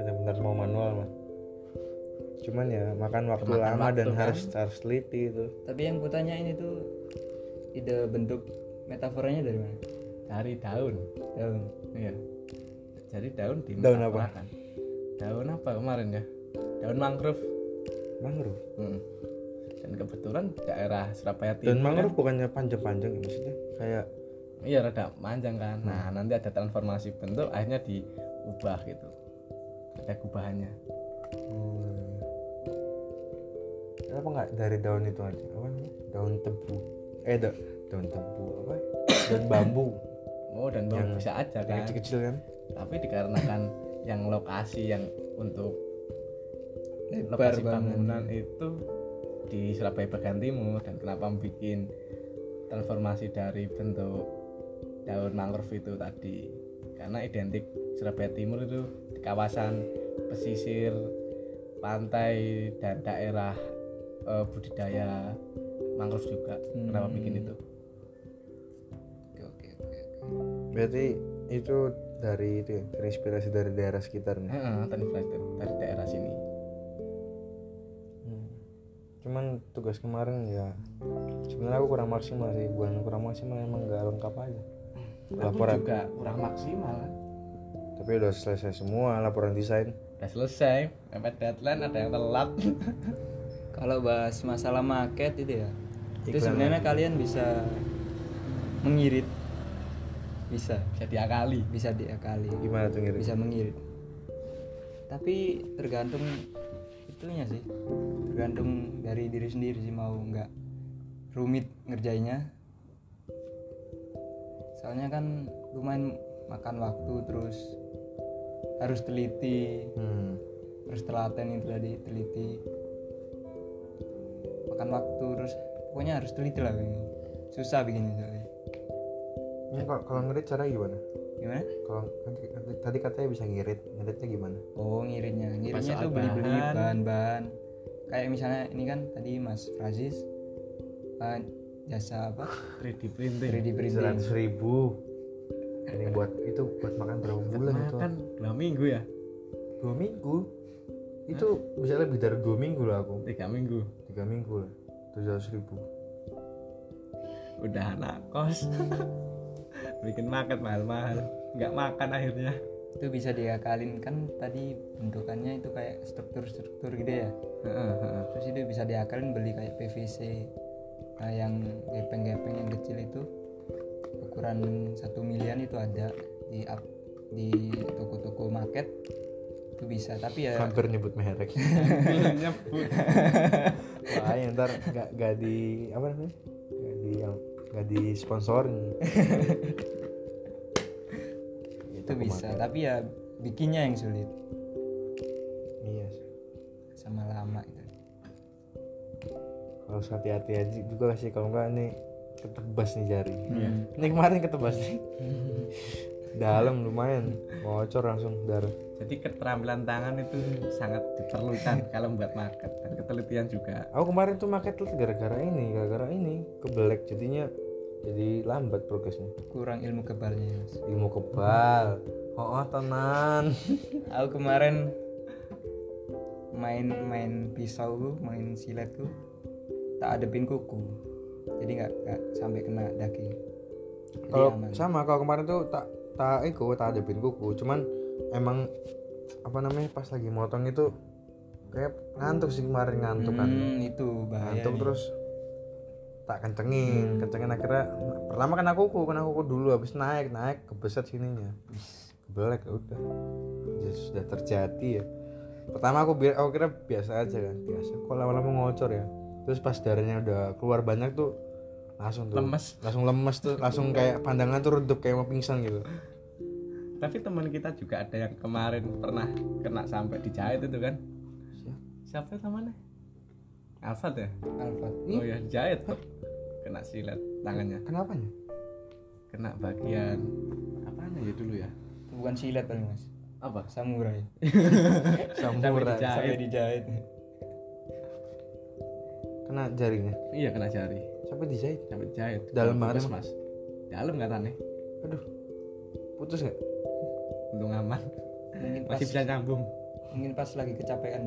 Speaker 1: benar-benar mau manual mah cuman ya makan waktu
Speaker 2: Makan
Speaker 1: lama
Speaker 2: waktu,
Speaker 1: dan
Speaker 2: kan?
Speaker 1: harus harus teliti itu
Speaker 3: tapi yang kutanyain itu ide bentuk metaforanya dari mana
Speaker 2: dari daun
Speaker 3: daun
Speaker 2: iya jadi daun di
Speaker 1: Daun apa?
Speaker 2: metaforakan. daun apa kemarin ya daun mangrove
Speaker 1: mangrove
Speaker 2: Hmm. dan kebetulan daerah Surabaya Timur
Speaker 1: Dan
Speaker 2: kan-
Speaker 1: mangrove bukannya panjang-panjang ya, maksudnya kayak
Speaker 2: iya rada panjang kan nah
Speaker 1: Hmm.
Speaker 2: nanti ada transformasi bentuk akhirnya diubah gitu ada gubahannya Hmm.
Speaker 1: kenapa nggak dari daun itu aja apa namanya daun tebu eh da- daun tebu apa daun bambu
Speaker 2: oh
Speaker 1: Yang-
Speaker 2: dan baru bisa aja
Speaker 1: yang
Speaker 2: kan
Speaker 1: kecil-kecil kan
Speaker 2: tapi dikarenakan yang lokasi yang untuk
Speaker 3: lebar
Speaker 2: lokasi
Speaker 3: banget
Speaker 2: bangunan itu di Surabaya bagian timur dan kenapa bikin transformasi dari bentuk daun mangrove itu tadi karena identik Surabaya Timur itu di kawasan pesisir pantai dan daerah eh, budidaya mangrove juga kenapa
Speaker 3: Hmm.
Speaker 2: bikin itu
Speaker 3: Oke oke oke. oke.
Speaker 1: Berarti itu dari itu ya, terinspirasi dari daerah sekitarnya.
Speaker 2: Heeh, terinspirasi dari daerah sini
Speaker 1: Hmm. Cuman tugas kemarin ya sebenarnya aku kurang maksimal sih, bukan kurang maksimal emang nggak lengkap aja. Laporan.
Speaker 2: aku juga kurang maksimal
Speaker 1: Tapi udah selesai semua laporan desain.
Speaker 2: udah selesai mepet deadline ada yang telat
Speaker 3: Kalau bahas masalah market itu ya, itu
Speaker 1: Iklan
Speaker 3: sebenarnya kalian bisa mengirit, bisa,
Speaker 2: bisa diakali
Speaker 3: bisa diakali,
Speaker 1: Gimana tuh ngirim?
Speaker 3: bisa mengirit. Tapi tergantung itunya sih, tergantung dari diri sendiri sih mau nggak rumit ngerjainnya. Soalnya kan lumayan makan waktu terus harus teliti
Speaker 1: Hmm.
Speaker 3: terus telaten itu tadi teliti makan waktu terus pokoknya harus teliti lah ini susah bikin itu
Speaker 1: Ini kalau kalau ngirit cara gimana?
Speaker 3: gimana
Speaker 1: Kalau tadi, tadi katanya bisa ngirit, ngiritnya gimana?
Speaker 3: oh ngiritnya ngiritnya
Speaker 2: soal
Speaker 3: tuh beli beli
Speaker 2: bahan.
Speaker 3: bahan bahan kayak misalnya ini kan tadi mas Frazis eh, jasa apa
Speaker 2: 3D printing
Speaker 3: 3D printing
Speaker 1: Seratus ribu. Ini buat itu buat makan berapa bulan itu?
Speaker 2: makan dua minggu ya
Speaker 1: Dua minggu. Itu bisa lebih dari dua minggu lah aku.
Speaker 2: tiga minggu
Speaker 1: Tiga minggu lah. Tujuh ratus ribu.
Speaker 2: udah anak kos bikin makan mahal-mahal nggak makan akhirnya
Speaker 3: itu bisa diakalin kan tadi bentukannya itu kayak struktur-struktur gitu ya
Speaker 2: Heeh, heeh.
Speaker 3: terus itu bisa diakalin beli kayak PVC nah, yang gepeng-gepeng yang kecil itu ukuran satu milian itu ada di up- di toko-toko market itu bisa tapi ya
Speaker 1: Hampir nyebut merek.
Speaker 2: Sambil nyebut
Speaker 1: Wah, ya ntar gak, gak di apa namanya? Gak di yang gak di sponsorin.
Speaker 3: itu bisa tapi ya bikinnya yang sulit
Speaker 1: Iya. sih.
Speaker 3: sama lama gitu. itu
Speaker 1: Harus hati-hati aja juga sih kalau enggak nih ketebas nih jari.
Speaker 2: Iya.
Speaker 1: Ini kemarin ketebas nih. Dalam lumayan, bocor langsung darah.
Speaker 2: jadi keterampilan tangan itu sangat diperlukan kalau buat market dan ketelitian juga
Speaker 1: Aku kemarin tuh market tuh gara-gara ini, gara-gara ini kebelek jadinya jadi lambat progresnya.
Speaker 3: kurang ilmu kebalnya ya, Mas.
Speaker 1: Ilmu kebal. Oh, oh tenan.
Speaker 3: aku kemarin main main pisau gua, main silet gua, tak adepin kuku jadi nggak nggak sampai kena daging Jadi
Speaker 1: kalau
Speaker 3: aman.
Speaker 1: sama kalau kemarin tuh tak tak iku tak adepin kuku cuman emang apa namanya pas lagi motong itu kayak ngantuk sih kemarin ngantuk kan
Speaker 3: Hmm, itu bahaya
Speaker 1: ngantuk
Speaker 3: nih.
Speaker 1: terus tak kencengin kencengin akhirnya pertama kena kuku kena kuku dulu habis naik naik kebeset sininya kebelek udah Ya, sudah terjadi ya pertama aku bi- aku kira biasa aja kan biasa kok lama-lama ngocor ya terus pas darahnya udah keluar banyak tuh langsung tuh
Speaker 2: lemes
Speaker 1: langsung lemes tuh langsung kayak pandangan tuh redup kayak mau pingsan gitu
Speaker 2: tapi teman kita juga ada yang kemarin pernah kena sampai dijahit itu kan siapa temannya Alfat ya
Speaker 3: Alphard.
Speaker 2: oh ya dijahit tuh kena silet tangannya
Speaker 1: kenapa ya
Speaker 2: kena bagian apanya ya dulu ya
Speaker 3: Itu bukan silet paling mas
Speaker 2: apa
Speaker 1: Nah,
Speaker 3: samurai
Speaker 2: Sampai
Speaker 1: samurai
Speaker 2: dijahit.
Speaker 3: sampai dijahit
Speaker 1: kena jarinya
Speaker 2: iya kena jari
Speaker 1: sampai dijahit
Speaker 2: sampai dijahit
Speaker 1: Dalam banget
Speaker 2: mas
Speaker 1: emang?
Speaker 2: mas dalam katanya
Speaker 1: aduh putus gak
Speaker 2: untung aman
Speaker 3: mungkin pas
Speaker 2: masih bisa nyambung
Speaker 3: mungkin pas lagi kecapean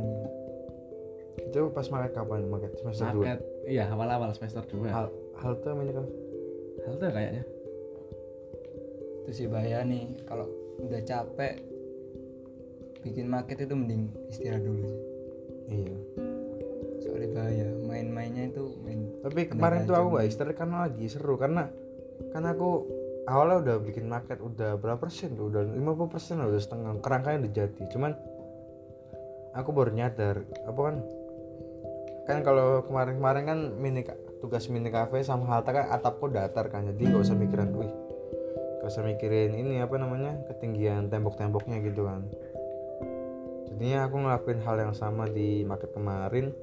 Speaker 1: itu pas market kapan market semester dua
Speaker 2: Market, iya awal-awal semester 2
Speaker 1: hal halte menyerah
Speaker 2: halte kayaknya
Speaker 3: itu sih bahaya nih kalau udah capek bikin market itu mending istirahat dulu sih
Speaker 1: iya
Speaker 3: soalnya bahaya main-mainnya itu main
Speaker 1: tapi kemarin tuh
Speaker 3: aja,
Speaker 1: aku gak istirahat karena lagi seru karena karena aku awalnya udah bikin market udah berapa persen tuh udah 50 persen udah setengah kerangkanya udah jadi cuman aku baru nyadar apa kan kan kalau kemarin-kemarin kan mini ka- tugas mini cafe sama halte kan atapku datar kan jadi gak usah mikirin wih gak usah mikirin ini apa namanya ketinggian tembok-temboknya gitu kan jadinya aku ngelakuin hal yang sama di market kemarin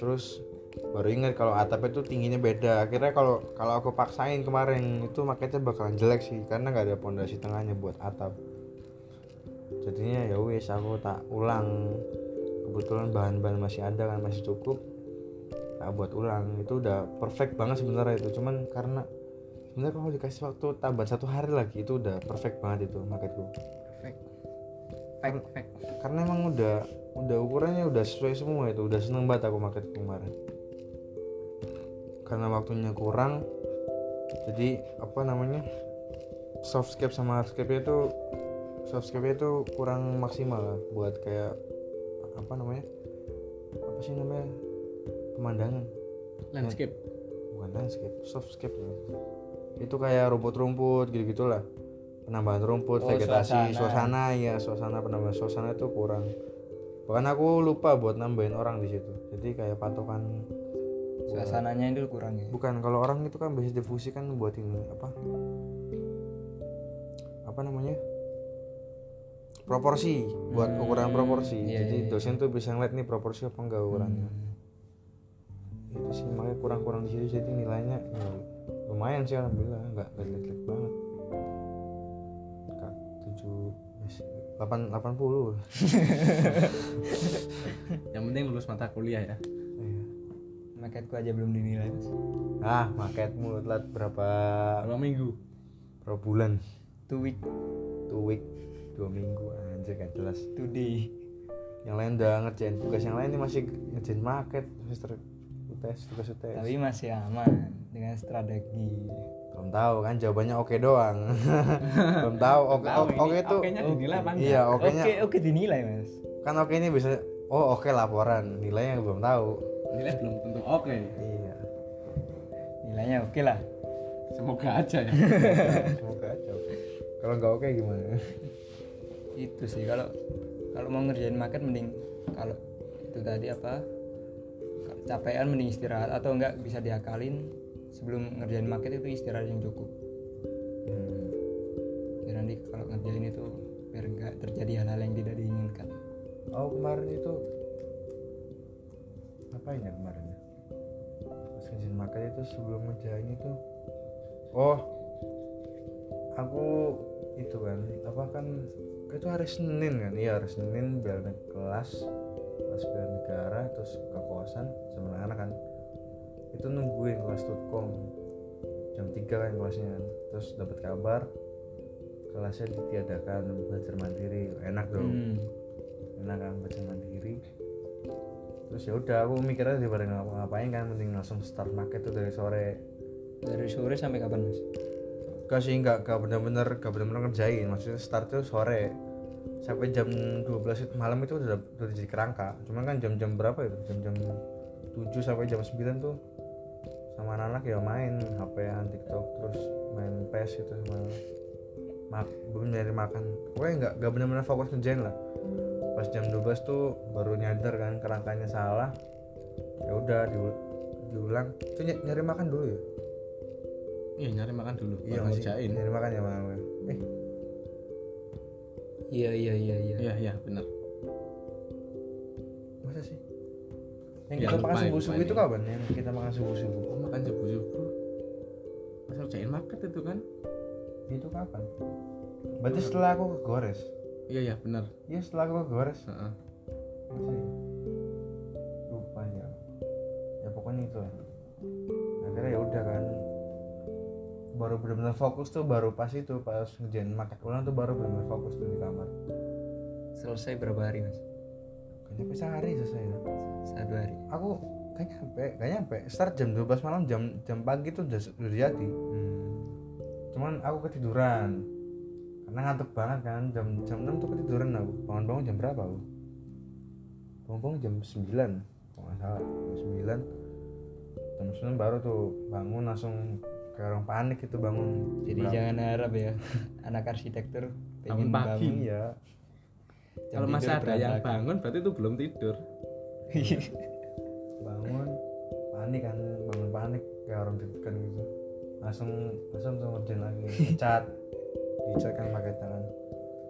Speaker 1: terus baru ingat kalau atapnya tuh tingginya beda akhirnya kalau kalau aku paksain kemarin itu marketnya bakalan jelek sih karena nggak ada pondasi tengahnya buat atap jadinya ya wis aku tak ulang kebetulan bahan-bahan masih ada kan masih cukup tak buat ulang itu udah perfect banget sebenarnya itu cuman karena sebenarnya kalau dikasih waktu tambahan satu hari lagi itu udah perfect banget itu marketku
Speaker 3: Perfect. Fact, fact.
Speaker 1: karena emang udah udah ukurannya udah sesuai semua itu udah seneng banget aku market kemarin karena waktunya kurang jadi apa namanya softscape sama hardscape itu softscape itu kurang maksimal lah buat kayak apa namanya apa sih namanya pemandangan
Speaker 2: landscape
Speaker 1: bukan landscape softscape ya. itu kayak rumput-rumput gitu gitulah penambahan rumput
Speaker 3: Oh,
Speaker 1: vegetasi
Speaker 3: suasana.
Speaker 1: suasana. ya suasana penambahan suasana itu kurang bahkan aku lupa buat nambahin orang di situ jadi kayak patokan
Speaker 3: Suasananya itu kurang ya.
Speaker 1: bukan kalau orang itu kan biasanya difusi kan buat ini apa apa namanya proporsi buat
Speaker 3: Hmm,
Speaker 1: ukuran proporsi
Speaker 3: iya,
Speaker 1: jadi
Speaker 3: iya, iya.
Speaker 1: dosen tuh bisa ngeliat nih proporsi apa enggak ukurannya itu Gitu sih makanya kurang-kurang di situ jadi nilainya ya, lumayan sih alhamdulillah nggak jelek-jelek banget kak tujuh ya delapan delapan puluh
Speaker 2: yang penting lulus mata kuliah ya
Speaker 3: Marketku aja belum dinilai, Mas.
Speaker 1: Iya. ah marketmu telat berapa
Speaker 2: berapa minggu
Speaker 1: berapa bulan
Speaker 3: Two week
Speaker 1: two week dua minggu anjir gak jelas
Speaker 3: today.
Speaker 1: yang lain udah ngerjain tugas yang lain ini masih ngerjain market semester UTS tugas UTS
Speaker 3: Tapi masih aman dengan strategi.
Speaker 1: belum tahu kan jawabannya oke doang belum tahu oke
Speaker 2: Tahu ini,
Speaker 1: oke tuh
Speaker 2: okenya dinilai apa enggak?
Speaker 1: iya oke nya
Speaker 3: Oke, oke dinilai, Mas.
Speaker 1: kan oke ini bisa oh oke laporan nilai yang belum tahu
Speaker 2: nilai belum tentu oke
Speaker 1: iya
Speaker 3: Nilainya oke lah.
Speaker 2: semoga aja ya
Speaker 1: semoga aja oke. kalau nggak oke gimana
Speaker 3: itu sih kalau kalau mau ngerjain market mending kalau itu tadi apa ka- capean mending istirahat atau enggak bisa diakalin sebelum ngerjain market itu istirahat yang cukup
Speaker 1: Hmm,
Speaker 3: biar nanti kalau ngerjain itu biar enggak terjadi hal-hal yang tidak diinginkan
Speaker 1: oh kemarin itu ngapain ya kemarin ya? pas izin makan itu sebelum ngejalan itu oh aku itu kan apa kan itu hari Senin kan iya hari Senin bel naik kelas kelas bela negara terus ke kosan sama anak-anak kan itu nungguin kelas tutkom jam 3 kan kelasnya kan. terus dapat kabar kelasnya ditiadakan belajar mandiri enak dong
Speaker 3: Hmm.
Speaker 1: enak kan baca mandiri terus ya udah aku mikirnya daripada ngapa ngapain kan mending langsung start market tuh dari sore
Speaker 3: dari sore sampai kapan mas
Speaker 1: enggak sih enggak enggak bener-bener enggak bener-bener ngerjain maksudnya start tuh sore sampai jam 12 itu malam itu udah udah jadi kerangka cuman kan jam-jam berapa itu jam-jam 7 sampai jam 9 tuh sama anak-anak ya main HP an TikTok terus main PS gitu sama anak mak belum nyari makan pokoknya nggak nggak benar-benar fokus ngerjain lah pas jam 12 tuh baru nyadar kan kerangkanya salah ya udah diul- diulang itu ny- nyari makan dulu ya
Speaker 2: iya nyari makan dulu
Speaker 1: iya
Speaker 2: baru
Speaker 1: nggak sih?
Speaker 2: ngerjain
Speaker 1: nyari makan ya malam ya eh
Speaker 3: iya iya iya iya
Speaker 2: iya iya benar
Speaker 1: masa sih yang
Speaker 2: Ya,
Speaker 1: kita makan
Speaker 2: lumayan,
Speaker 1: subuh subuh
Speaker 2: lumayan.
Speaker 1: itu kapan yang kita makan subuh subuh
Speaker 2: oh, makan subuh subuh pas ngerjain market itu kan
Speaker 1: itu kapan berarti setelah aku ke gores
Speaker 2: iya iya benar
Speaker 1: iya setelah aku ke gores
Speaker 2: Heeh.
Speaker 1: Masa ya? lupa ya ya pokoknya itu lah akhirnya ya udah kan baru benar-benar fokus tuh baru pas itu pas ngerjain makan ulang tuh baru benar-benar fokus tuh di kamar
Speaker 3: selesai berapa hari mas
Speaker 1: kayaknya bisa hari selesai ya.
Speaker 3: satu hari
Speaker 1: aku kayaknya nyampe kayaknya nyampe start jam 12 malam jam jam pagi tuh udah, udah jadi cuman aku ketiduran karena ngantuk banget kan jam jam 6 tuh ketiduran aku bangun-bangun jam berapa aku bangun-bangun jam 9 kalau nggak salah jam 9 jam 9 baru tuh bangun langsung kayak orang panik gitu bangun
Speaker 3: jadi
Speaker 1: Berapa?
Speaker 3: jangan harap ya anak arsitektur
Speaker 2: Bangun
Speaker 3: pengen
Speaker 2: pagi.
Speaker 3: bangun ya.
Speaker 1: iya
Speaker 3: jam
Speaker 2: kalau masih
Speaker 3: tidur Iya.
Speaker 2: ada yang
Speaker 3: berantakan.
Speaker 2: bangun berarti itu belum tidur
Speaker 1: bangun panik kan bangun panik kayak orang deg-degan gitu langsung langsung langsung ngerjain lagi ngecat dicat kan pakai tangan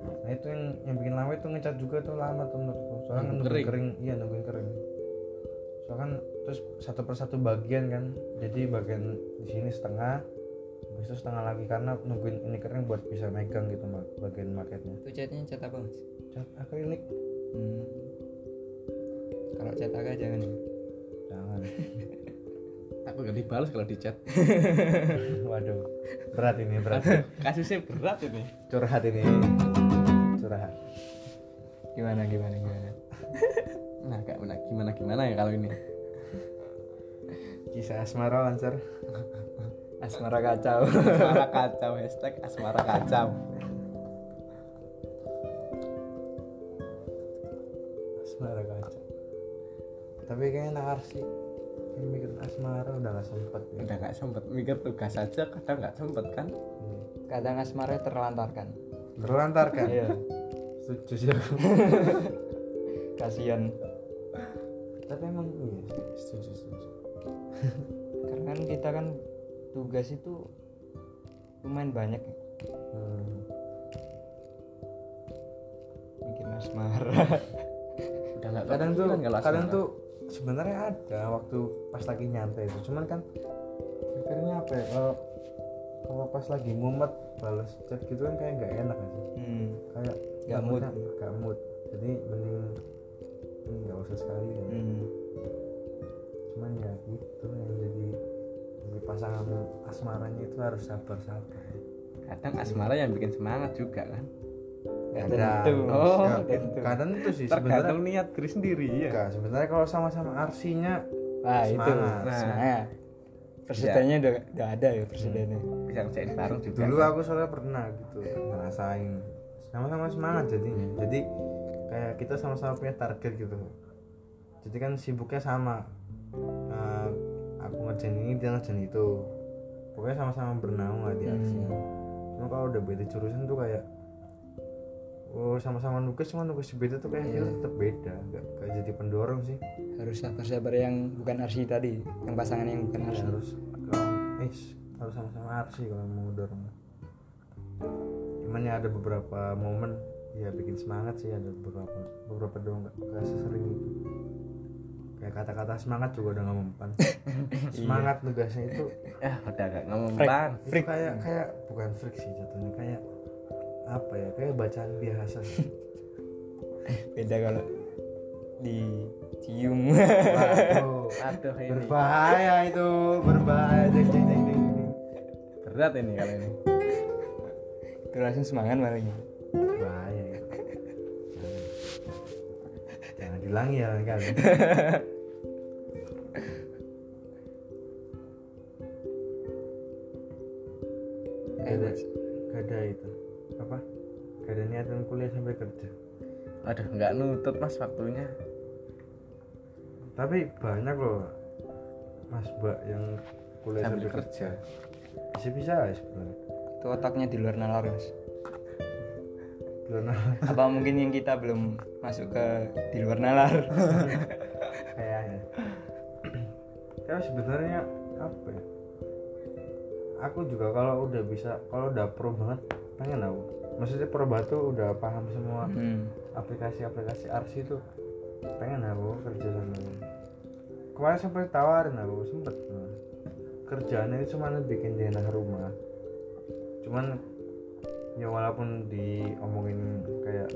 Speaker 1: nah itu yang yang bikin lama itu ngecat juga tuh lama tuh menurutku soalnya kan
Speaker 2: Nunggu
Speaker 1: nungguin
Speaker 2: kering.
Speaker 1: kering. iya nungguin kering soalnya kan terus satu persatu bagian kan jadi bagian di sini setengah habis itu setengah lagi karena nungguin ini kering buat bisa megang gitu ma- bagian marketnya
Speaker 3: itu catnya cat apa mas
Speaker 1: cat akrilik
Speaker 3: Hmm. kalau chat agak jangan ya.
Speaker 1: jangan
Speaker 2: Aku gak dibalas kalau di chat.
Speaker 1: waduh berat ini berat
Speaker 2: Aduh, kasusnya berat ini.
Speaker 1: curhat ini curhat
Speaker 3: gimana gimana gimana
Speaker 2: Nah, kayak mana gimana gimana ya kalau ini.
Speaker 1: kisah asmara lancar
Speaker 3: asmara kacau
Speaker 2: Asmara kacau hashtag asmara kacau.
Speaker 1: asmara kacau tapi kayaknya nakar sih Kayaknya mikir asmara udah gak sempet ya.
Speaker 2: Udah gak sempet mikir tugas aja kadang gak sempet kan.
Speaker 1: Hmm.
Speaker 3: kadang asmara terlantarkan
Speaker 1: terlantar kan
Speaker 3: iya
Speaker 1: setuju sih aku
Speaker 3: kasihan
Speaker 1: tapi emang iya sih, setuju setuju
Speaker 3: karena kan kita kan tugas itu lumayan banyak ya.
Speaker 1: hmm.
Speaker 3: bikin asmara
Speaker 2: Udah gak
Speaker 1: kadang tuh
Speaker 2: kepikiran kalau
Speaker 1: kadang
Speaker 2: kan asmara.
Speaker 1: tuh sebenarnya ada waktu pas lagi nyantai itu cuman kan pikirnya apa ya kalau kalau pas lagi mumet balas chat gitu kan kayak nggak enak aja
Speaker 3: hmm.
Speaker 1: kayak
Speaker 3: Nggak mood.
Speaker 1: nggak mood jadi mending mending nggak usah sekali ya.
Speaker 3: hmm.
Speaker 1: cuman ya gitu yang jadi jadi pasangan asmaranya itu harus sabar sabar
Speaker 2: kadang asmara yang bikin semangat juga kan.
Speaker 3: Nggak
Speaker 1: Kadang.
Speaker 3: tentu
Speaker 2: Oh,
Speaker 1: Ya,
Speaker 3: tentu
Speaker 1: kadang itu sih sebenarnya
Speaker 2: Tergantung niat diri sendiri ya.
Speaker 1: enggak sebenarnya kalau sama-sama arsinya
Speaker 3: nah itu
Speaker 1: Semangat.
Speaker 3: nah presidennya udah, udah ada ya presidennya
Speaker 2: Bisa ngerjain bareng juga. kan.
Speaker 1: dulu aku soalnya pernah gitu ngerasain sama-sama semangat jadinya jadi kayak kita sama-sama punya target gitu jadi kan sibuknya sama Eh, aku ngerjain ini dia ngerjain itu pokoknya sama-sama bernaung lah di aksinya cuma kalau udah beda jurusan tuh kayak oh sama-sama nugas cuma nugas beda tuh kayak kita tetap beda nggak nggak jadi pendorong sih
Speaker 3: harus sabar-sabar yang bukan arsi tadi yang pasangan yang bukan arsi
Speaker 1: Iya, harus kalau eh harus sama-sama arsi kalau mau dorong cuman ya ada beberapa momen ya bikin semangat sih ada beberapa beberapa doang nggak nggak sesering itu kayak kata-kata semangat juga udah nggak mempan semangat tugasnya itu
Speaker 2: Ya, udah gak ngomong
Speaker 3: Frek.
Speaker 2: pan.
Speaker 1: itu
Speaker 3: Freak.
Speaker 1: kayak kayak bukan freak sih jatuhnya kayak apa ya kayak bacaan biasa sih.
Speaker 3: beda kalau dicium
Speaker 1: Waduh,
Speaker 2: Aduh ini
Speaker 1: berbahaya itu berbahaya ding ding ding ding ding.
Speaker 2: berat ini kalau ini.
Speaker 3: itu langsung semangat malah gitu.
Speaker 1: bahaya ya Jangan. jangan diulangi ya kan
Speaker 3: Eh,
Speaker 1: ada
Speaker 3: Mas.
Speaker 1: gak ada itu apa gak ada niatan kuliah sampai kerja
Speaker 2: Aduh nggak nutut mas waktunya.
Speaker 1: tapi banyak loh mas mbak yang kuliah sampai,
Speaker 2: Sambil
Speaker 1: kerja. bisa bisa sebenarnya
Speaker 3: itu otaknya di luar nalar mas
Speaker 1: karena
Speaker 3: apa mungkin yang kita belum masuk ke di luar nalar
Speaker 1: kayaknya tapi sebenarnya apa ya aku juga kalau udah bisa kalau udah pro banget pengen aku maksudnya pro banget tuh udah paham semua
Speaker 3: hmm.
Speaker 1: aplikasi-aplikasi arsi tuh pengen aku kerja sama dia. kemarin sampai tawarin aku sempet nah. kerjaannya itu cuma bikin denah rumah cuman ya walaupun diomongin kayak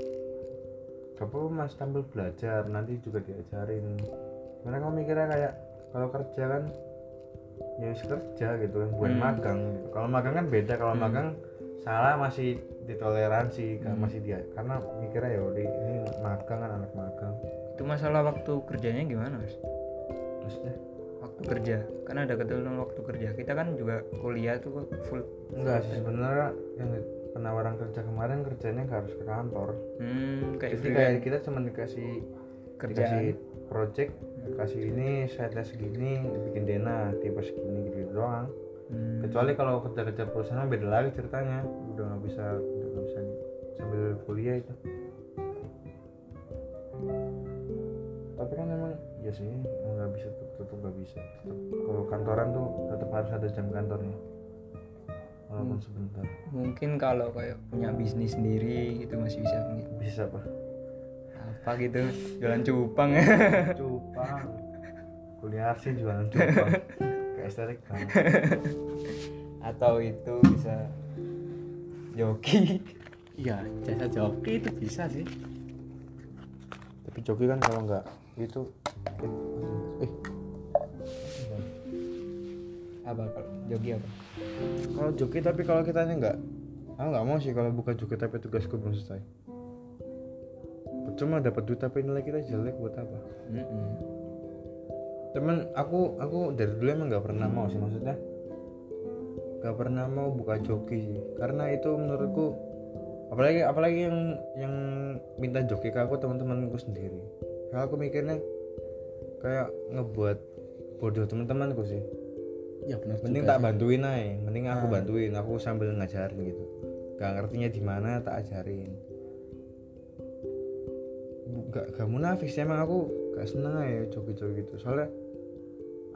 Speaker 1: apa mas tampil belajar nanti juga diajarin mereka mikirnya kayak kalau kerja kan ya wis kerja gitu kan bukan
Speaker 3: Hmm.
Speaker 1: magang kalau magang kan beda kalau magang salah masih ditoleransi kan masih dia karena mikirnya ya udah ini magang kan anak magang
Speaker 3: itu masalah waktu kerjanya gimana mas
Speaker 1: maksudnya
Speaker 3: waktu kerja kan ada ketentuan waktu kerja kita kan juga kuliah tuh full
Speaker 1: enggak sih sebenarnya yang penawaran kerja kemarin kerjanya nggak harus ke kantor
Speaker 3: hmm, kayak
Speaker 1: jadi
Speaker 3: free
Speaker 1: kayak
Speaker 3: kan?
Speaker 1: kita cuma dikasih
Speaker 3: kerjaan
Speaker 1: dikasih project dikasih ini sideline segini bikin dena tipe segini gitu, -gitu doang
Speaker 3: Hmm.
Speaker 1: kecuali kalau kerja kerja perusahaan beda lagi ceritanya udah nggak bisa udah nggak bisa di- sambil kuliah itu tapi kan emang ya sih emang nggak bisa tetap tetap nggak bisa tetap kalau kantoran tuh tetap harus ada jam kantornya walaupun
Speaker 3: Hmm.
Speaker 1: sebentar
Speaker 3: mungkin kalau kayak punya bisnis sendiri itu masih bisa mungkin
Speaker 1: bisa apa
Speaker 3: apa gitu jualan cupang ya.
Speaker 1: cupang kuliah sih jualan cupang kayak estetik kan. banget
Speaker 3: atau itu bisa joki
Speaker 2: Iya jasa joki itu bisa sih.
Speaker 1: tapi joki kan kalau nggak gitu eh Iya.
Speaker 3: apa kalau jogi apa
Speaker 1: kalau joki tapi kalau kitanya nggak aku nggak mau sih kalau bukan joki tapi tugasku belum selesai percuma dapat duit tapi nilai kita jelek buat apa temen aku aku dari dulu emang nggak pernah mau sih maksudnya nggak pernah mau buka joki sih karena itu menurutku apalagi apalagi yang yang minta joki ke aku teman-temanku sendiri Karena aku mikirnya kayak ngebuat bodoh teman-temanku sih
Speaker 2: ya benar
Speaker 1: mending
Speaker 2: juga
Speaker 1: tak bantuin aja mending aku
Speaker 3: Ah.
Speaker 1: bantuin aku sambil ngajarin gitu gak ngertinya di mana tak ajarin Bu- gak gak munafik sih emang aku gak seneng aja joki-joki gitu soalnya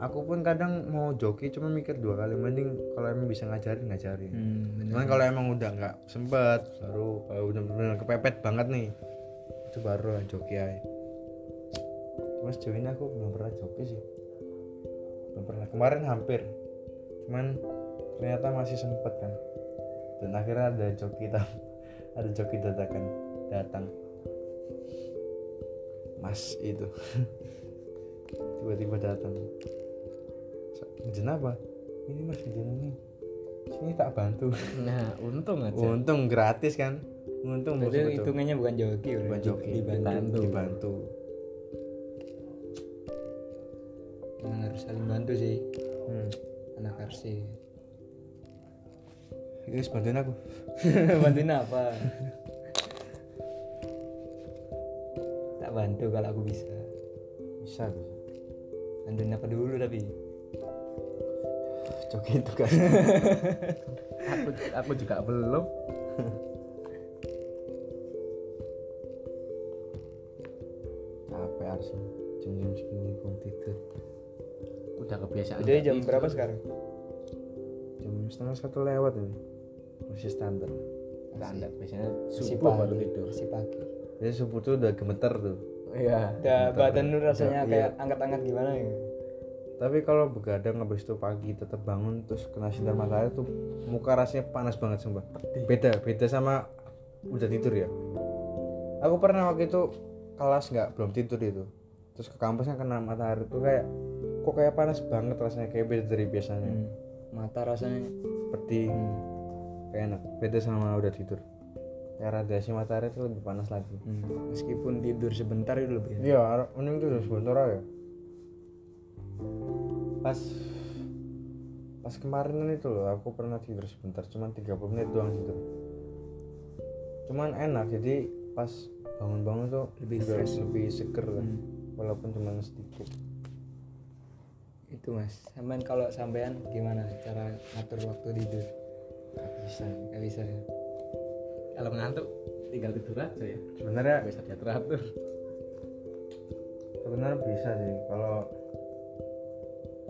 Speaker 1: aku pun kadang mau joki cuma mikir dua kali mending kalau emang bisa ngajarin ngajarin
Speaker 2: Hmm, benar.
Speaker 1: cuman kalau emang udah nggak sempet baru kalau udah bener kepepet banget nih itu baru lah joki aja cuma sejauh ini aku belum pernah joki sih belum pernah kemarin hampir cuman ternyata masih sempet kan dan akhirnya ada joki tam- ada joki dadakan datang mas itu tiba-tiba datang Sa- "Jen apa ini mas jen ini sini tak bantu
Speaker 2: nah untung aja
Speaker 1: Untung gratis kan? Untung
Speaker 3: itu
Speaker 1: maksudku tuh.
Speaker 3: hitungannya bukan jogi berarti.
Speaker 1: Bukan joki.
Speaker 3: dibantu
Speaker 2: Dibantu.
Speaker 1: dibantu.
Speaker 3: Emang harus saling bantu sih
Speaker 1: Hmm.
Speaker 3: anak arsi
Speaker 1: Guys, bantuin aku.
Speaker 3: bantuin apa tak bantu kalau aku bisa
Speaker 1: Bisa bisa.
Speaker 3: bantuin apa dulu tapi
Speaker 1: Joki itu kan.
Speaker 2: aku aku juga belum
Speaker 1: Capek harus jam-jam segini belum tidur.
Speaker 2: udah kebiasaan
Speaker 3: udah
Speaker 2: nggak
Speaker 3: jam
Speaker 2: tidur.
Speaker 3: berapa sekarang
Speaker 1: Jam setengah satu lewat ini. Masih standar.
Speaker 2: standar biasanya
Speaker 3: Masih
Speaker 2: subuh baru
Speaker 3: pagi,
Speaker 2: tidur
Speaker 3: masih pagi
Speaker 1: Jadi subuh tuh udah gemeter tuh.
Speaker 2: iya
Speaker 3: udah badan lu
Speaker 1: Udah,
Speaker 3: rasanya
Speaker 1: iya.
Speaker 3: kayak angkat-angkat gimana ya
Speaker 1: Tapi kalau begadang habis itu pagi tetap bangun terus kena sinar matahari tuh muka rasanya panas banget sumpah. Beda, beda sama udah tidur ya. Aku pernah waktu itu kelas nggak belum tidur itu. Terus ke kampusnya kena matahari tuh kayak kok kayak panas banget rasanya kayak beda dari biasanya.
Speaker 3: Hmm. mata rasanya
Speaker 1: Seperti kayak enak, beda sama udah tidur. Kayak radiasi matahari tuh lebih panas lagi.
Speaker 3: Hmm, meskipun tidur sebentar itu lebih enak.
Speaker 1: Iya, ar- mending tidur sebentar aja. Pas pas kemarinan itu loh, aku pernah tidur sebentar, cuman 30 menit doang tidur. Cuman enak, jadi pas bangun-bangun tuh
Speaker 3: Lebih
Speaker 1: udah
Speaker 3: fresh.
Speaker 1: lebih seger lah.
Speaker 3: Hmm.
Speaker 1: Walaupun cuma sedikit.
Speaker 3: itu mas sampean kalau sampean gimana cara ngatur waktu tidur
Speaker 1: Gak bisa.
Speaker 3: nggak bisa ya
Speaker 2: kalau ngantuk tinggal tidur aja ya
Speaker 1: Sebenarnya
Speaker 2: bisa diatur atur
Speaker 1: sebenarnya bisa sih kalau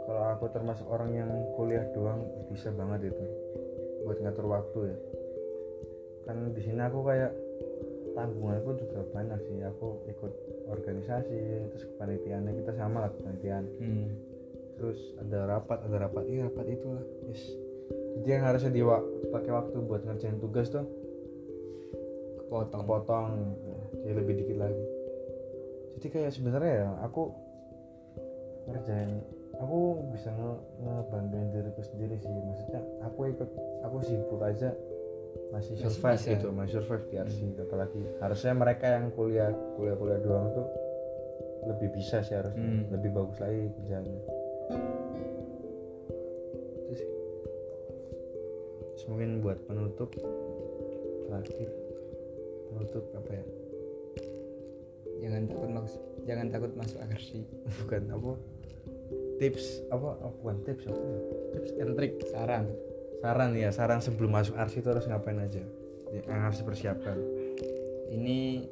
Speaker 1: kalau aku termasuk orang yang kuliah doang bisa banget itu buat ngatur waktu ya kan di sini aku kayak tanggunganku juga banyak sih aku ikut organisasi terus kepanitiaannya kita sama lah kepanitiaan
Speaker 3: hmm.
Speaker 1: terus ada rapat ada rapat iya rapat itulah yes jadi yang harusnya diwa- pakai waktu buat ngerjain tugas tuh
Speaker 3: kepotong
Speaker 1: potong jadi lebih dikit lagi jadi kayak sebenarnya ya aku ngerjain aku bisa nge- ngebantuin diriku sendiri sih maksudnya aku ikut aku sibuk aja masih
Speaker 3: Masih
Speaker 1: survive
Speaker 3: bisa.
Speaker 1: gitu masih survive di RC apalagi harusnya mereka yang kuliah kuliah kuliah doang tuh lebih bisa sih harusnya
Speaker 3: Hmm.
Speaker 1: lebih bagus lagi kerjaannya Itu sih. Terus mungkin buat penutup terakhir penutup apa ya
Speaker 3: jangan takut mas- jangan takut masuk agersi
Speaker 1: bukan apa tips apa apa- bukan tips apa ya?
Speaker 2: tips and trick
Speaker 3: saran
Speaker 1: saran ya saran sebelum masuk arsi itu harus ngapain aja Ya, yang harus dipersiapkan
Speaker 3: ini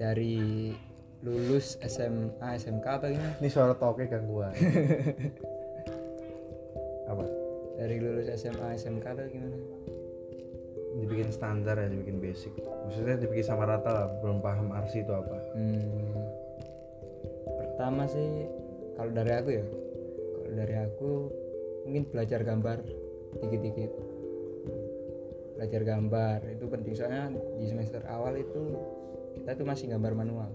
Speaker 3: dari lulus SMA SMK atau gimana
Speaker 1: ini suara toke gangguan apa
Speaker 3: dari lulus SMA SMK atau gimana
Speaker 1: dibikin standar ya dibikin basic maksudnya dibikin sama rata lah belum paham arsi itu apa
Speaker 3: Hmm, pertama sih kalau dari aku ya kalau dari aku mungkin belajar gambar dikit-dikit belajar gambar itu penting
Speaker 1: Hmm,
Speaker 3: soalnya di semester awal itu kita tuh masih gambar manual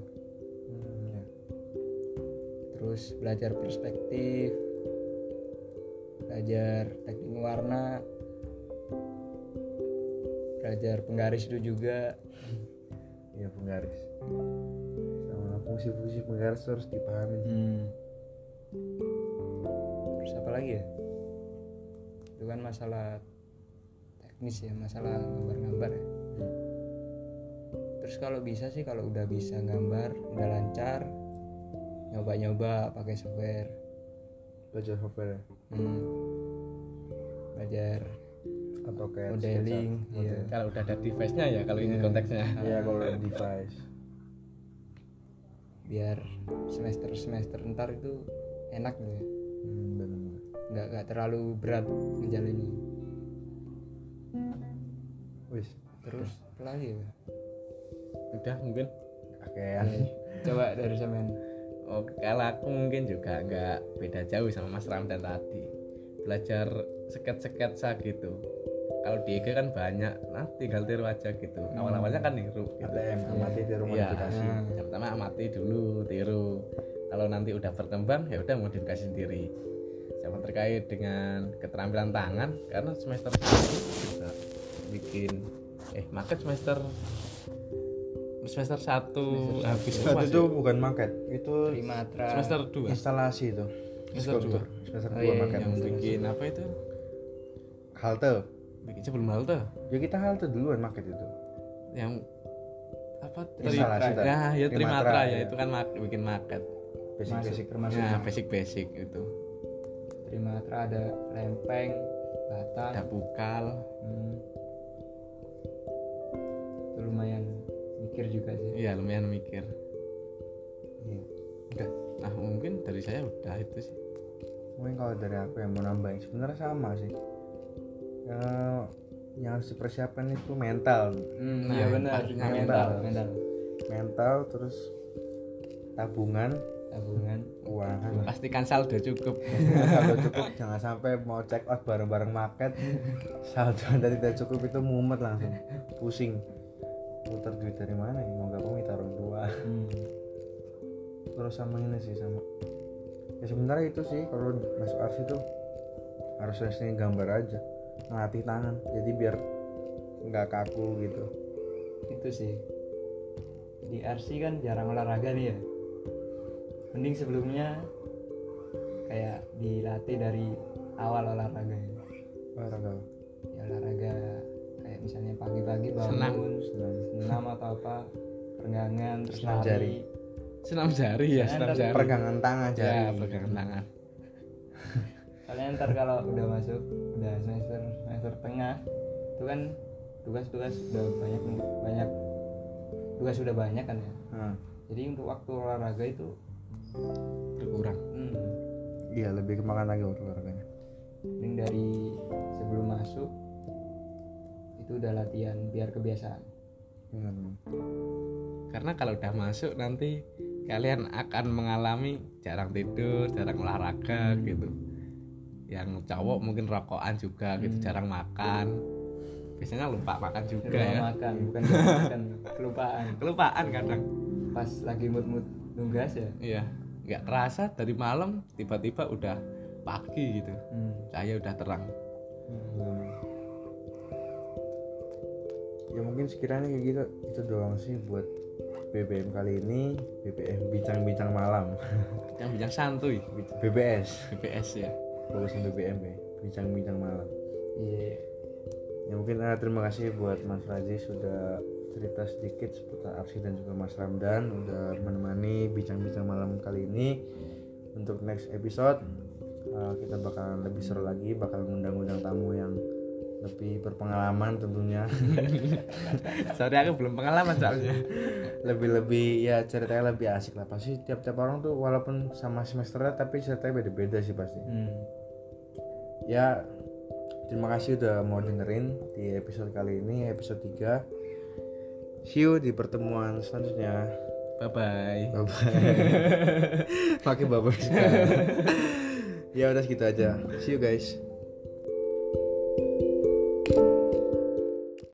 Speaker 3: terus belajar perspektif belajar teknik warna belajar penggaris itu juga
Speaker 1: Iya penggaris. Sama fungsi-fungsi penggaris harus dipahami.
Speaker 3: Hmm. terus apa lagi ya itu kan masalah teknis ya masalah gambar-gambar ya terus kalau bisa sih kalau udah bisa gambar udah lancar nyoba-nyoba pakai software
Speaker 1: Belajar software ya.
Speaker 3: hmm. belajar
Speaker 1: atau kayak
Speaker 3: modeling
Speaker 1: sketsa.
Speaker 3: iya.
Speaker 2: kalau udah ada device-nya ya kalau ini konteksnya
Speaker 1: Iya kalau device.
Speaker 3: biar semester semester ntar itu enak gitu ya.
Speaker 1: Hmm, benar.
Speaker 3: nggak nggak terlalu berat menjalani
Speaker 1: Wis,
Speaker 3: terus apa lagi ya?
Speaker 2: udah mungkin
Speaker 1: pakaian.
Speaker 3: coba dari semen
Speaker 2: oh, kalau aku mungkin juga nggak beda jauh sama Mas Ramdan tadi belajar seket-seketsa gitu kalau di IG kan banyak nah tinggal tiru aja gitu
Speaker 3: Hmm.
Speaker 2: awal-awalnya kan niru gitu
Speaker 1: ATM amati tiru
Speaker 2: Iya.
Speaker 1: modifikasi.
Speaker 2: yang pertama amati dulu tiru kalau nanti udah berkembang ya udah modifikasi sendiri sama terkait dengan keterampilan tangan karena semester satu kita bikin eh maka semester semester satu habis itu
Speaker 1: Itu,
Speaker 2: masih-
Speaker 1: itu bukan market, itu
Speaker 3: trimatra
Speaker 2: semester dua
Speaker 1: instalasi itu.
Speaker 2: Semester
Speaker 1: Skulptur. Semester 2
Speaker 3: Oh, iya,
Speaker 1: market.
Speaker 2: yang bikin apa itu
Speaker 1: Halte.
Speaker 2: bikin sebelum halte
Speaker 1: Ya kita halte duluan market itu.
Speaker 2: yang apa
Speaker 1: Instalasi
Speaker 2: Tri-
Speaker 1: tadi.
Speaker 2: nah ya
Speaker 1: Trimatra,
Speaker 2: trimatra ya
Speaker 1: iya.
Speaker 2: itu kan mak- bikin market
Speaker 1: Basic-basic.
Speaker 3: termasuk Ya.
Speaker 2: nah basic basic itu
Speaker 3: trimatra ada lempeng batang
Speaker 2: ada pukal
Speaker 3: Hmm. itu lumayan mikir juga sih
Speaker 2: iya lumayan mikir
Speaker 1: Iya. Udah.
Speaker 2: Nah mungkin dari saya udah itu sih.
Speaker 1: Mungkin kalau dari aku yang mau nambahin sebenarnya sama sih. Eh, yang harus dipersiapkan itu mental
Speaker 2: Nah,
Speaker 3: Hmm, iya
Speaker 2: yang
Speaker 3: benar
Speaker 2: pastinya
Speaker 3: mental,
Speaker 1: mental.
Speaker 3: mental mental
Speaker 1: mental terus tabungan
Speaker 3: tabungan
Speaker 1: keuangan
Speaker 2: Pastikan saldo cukup.
Speaker 1: saldo cukup jangan sampai mau check out bareng-bareng market saldo anda tidak cukup itu mumet langsung pusing putar duit dari mana ya mau gak mau minta orang tua
Speaker 3: Hmm,
Speaker 1: terus sama ini sih sama ya sebenarnya itu sih kalau masuk arsi itu harus sering gambar aja ngelatih tangan jadi biar nggak kaku gitu
Speaker 3: itu sih di RC kan jarang olahraga nih ya mending sebelumnya kayak dilatih dari awal olahraga ya,
Speaker 1: olahraga
Speaker 3: Ya, olahraga kayak misalnya pagi-pagi bangun
Speaker 2: Senam.
Speaker 1: senam
Speaker 3: senam atau apa peregangan terus
Speaker 1: Senam
Speaker 3: lari
Speaker 1: jari.
Speaker 2: Senam jari ya, senam
Speaker 3: Standar
Speaker 2: jari.
Speaker 1: peregangan tangan jari
Speaker 2: Ya, peregangan tangan.
Speaker 3: kalian ntar kalau udah masuk udah semester semester tengah itu kan tugas-tugas udah banyak banyak tugas sudah banyak kan ya
Speaker 1: Nah,
Speaker 3: jadi untuk waktu olahraga itu
Speaker 2: Berkurang.
Speaker 3: hmm,
Speaker 1: iya lebih kemakan lagi olahraganya
Speaker 3: mending dari sebelum masuk itu udah latihan biar kebiasaan
Speaker 1: Ingat, Bang.
Speaker 2: Karena kalau udah masuk nanti kalian akan mengalami jarang tidur, jarang olahraga gitu. Yang cowok mungkin rokokan juga gitu, jarang makan. Biasanya lupa makan juga
Speaker 3: lupa
Speaker 2: ya.
Speaker 3: makan bukan lupa makan kelupaan
Speaker 2: Kelupaan kadang.
Speaker 3: pas lagi mood-mood nunggas ya
Speaker 2: Iya. Nggak kerasa dari malam tiba-tiba udah pagi gitu.
Speaker 3: hmm.
Speaker 2: Saya udah terang.
Speaker 1: Hmm. Ya mungkin sekiranya kayak gitu itu doang sih buat BBM kali ini BBM bincang-bincang malam
Speaker 2: Yang bincang santuy.
Speaker 1: BBS
Speaker 2: BPS ya.
Speaker 1: bagusan BBM ya bincang-bincang malam
Speaker 3: iya
Speaker 1: ya mungkin eh, terima kasih buat Mas Razi sudah cerita sedikit seputar Arsi dan juga Mas Ramdan udah menemani bincang-bincang malam kali ini untuk next episode eh, kita bakalan lebih seru lagi bakal ngundang-undang tamu yang lebih berpengalaman tentunya
Speaker 2: Sorry aku belum pengalaman soalnya.
Speaker 1: lebih-lebih ya ceritanya lebih asik lah pasti tiap-tiap orang tuh walaupun sama semesternya tapi ceritanya beda-beda sih pasti
Speaker 3: hmm.
Speaker 1: ya terima kasih udah mau dengerin di episode kali ini episode 3 see you di pertemuan selanjutnya
Speaker 2: Bye bye.
Speaker 1: bye bye pakai bubble sekarang. ya udah segitu aja see you guys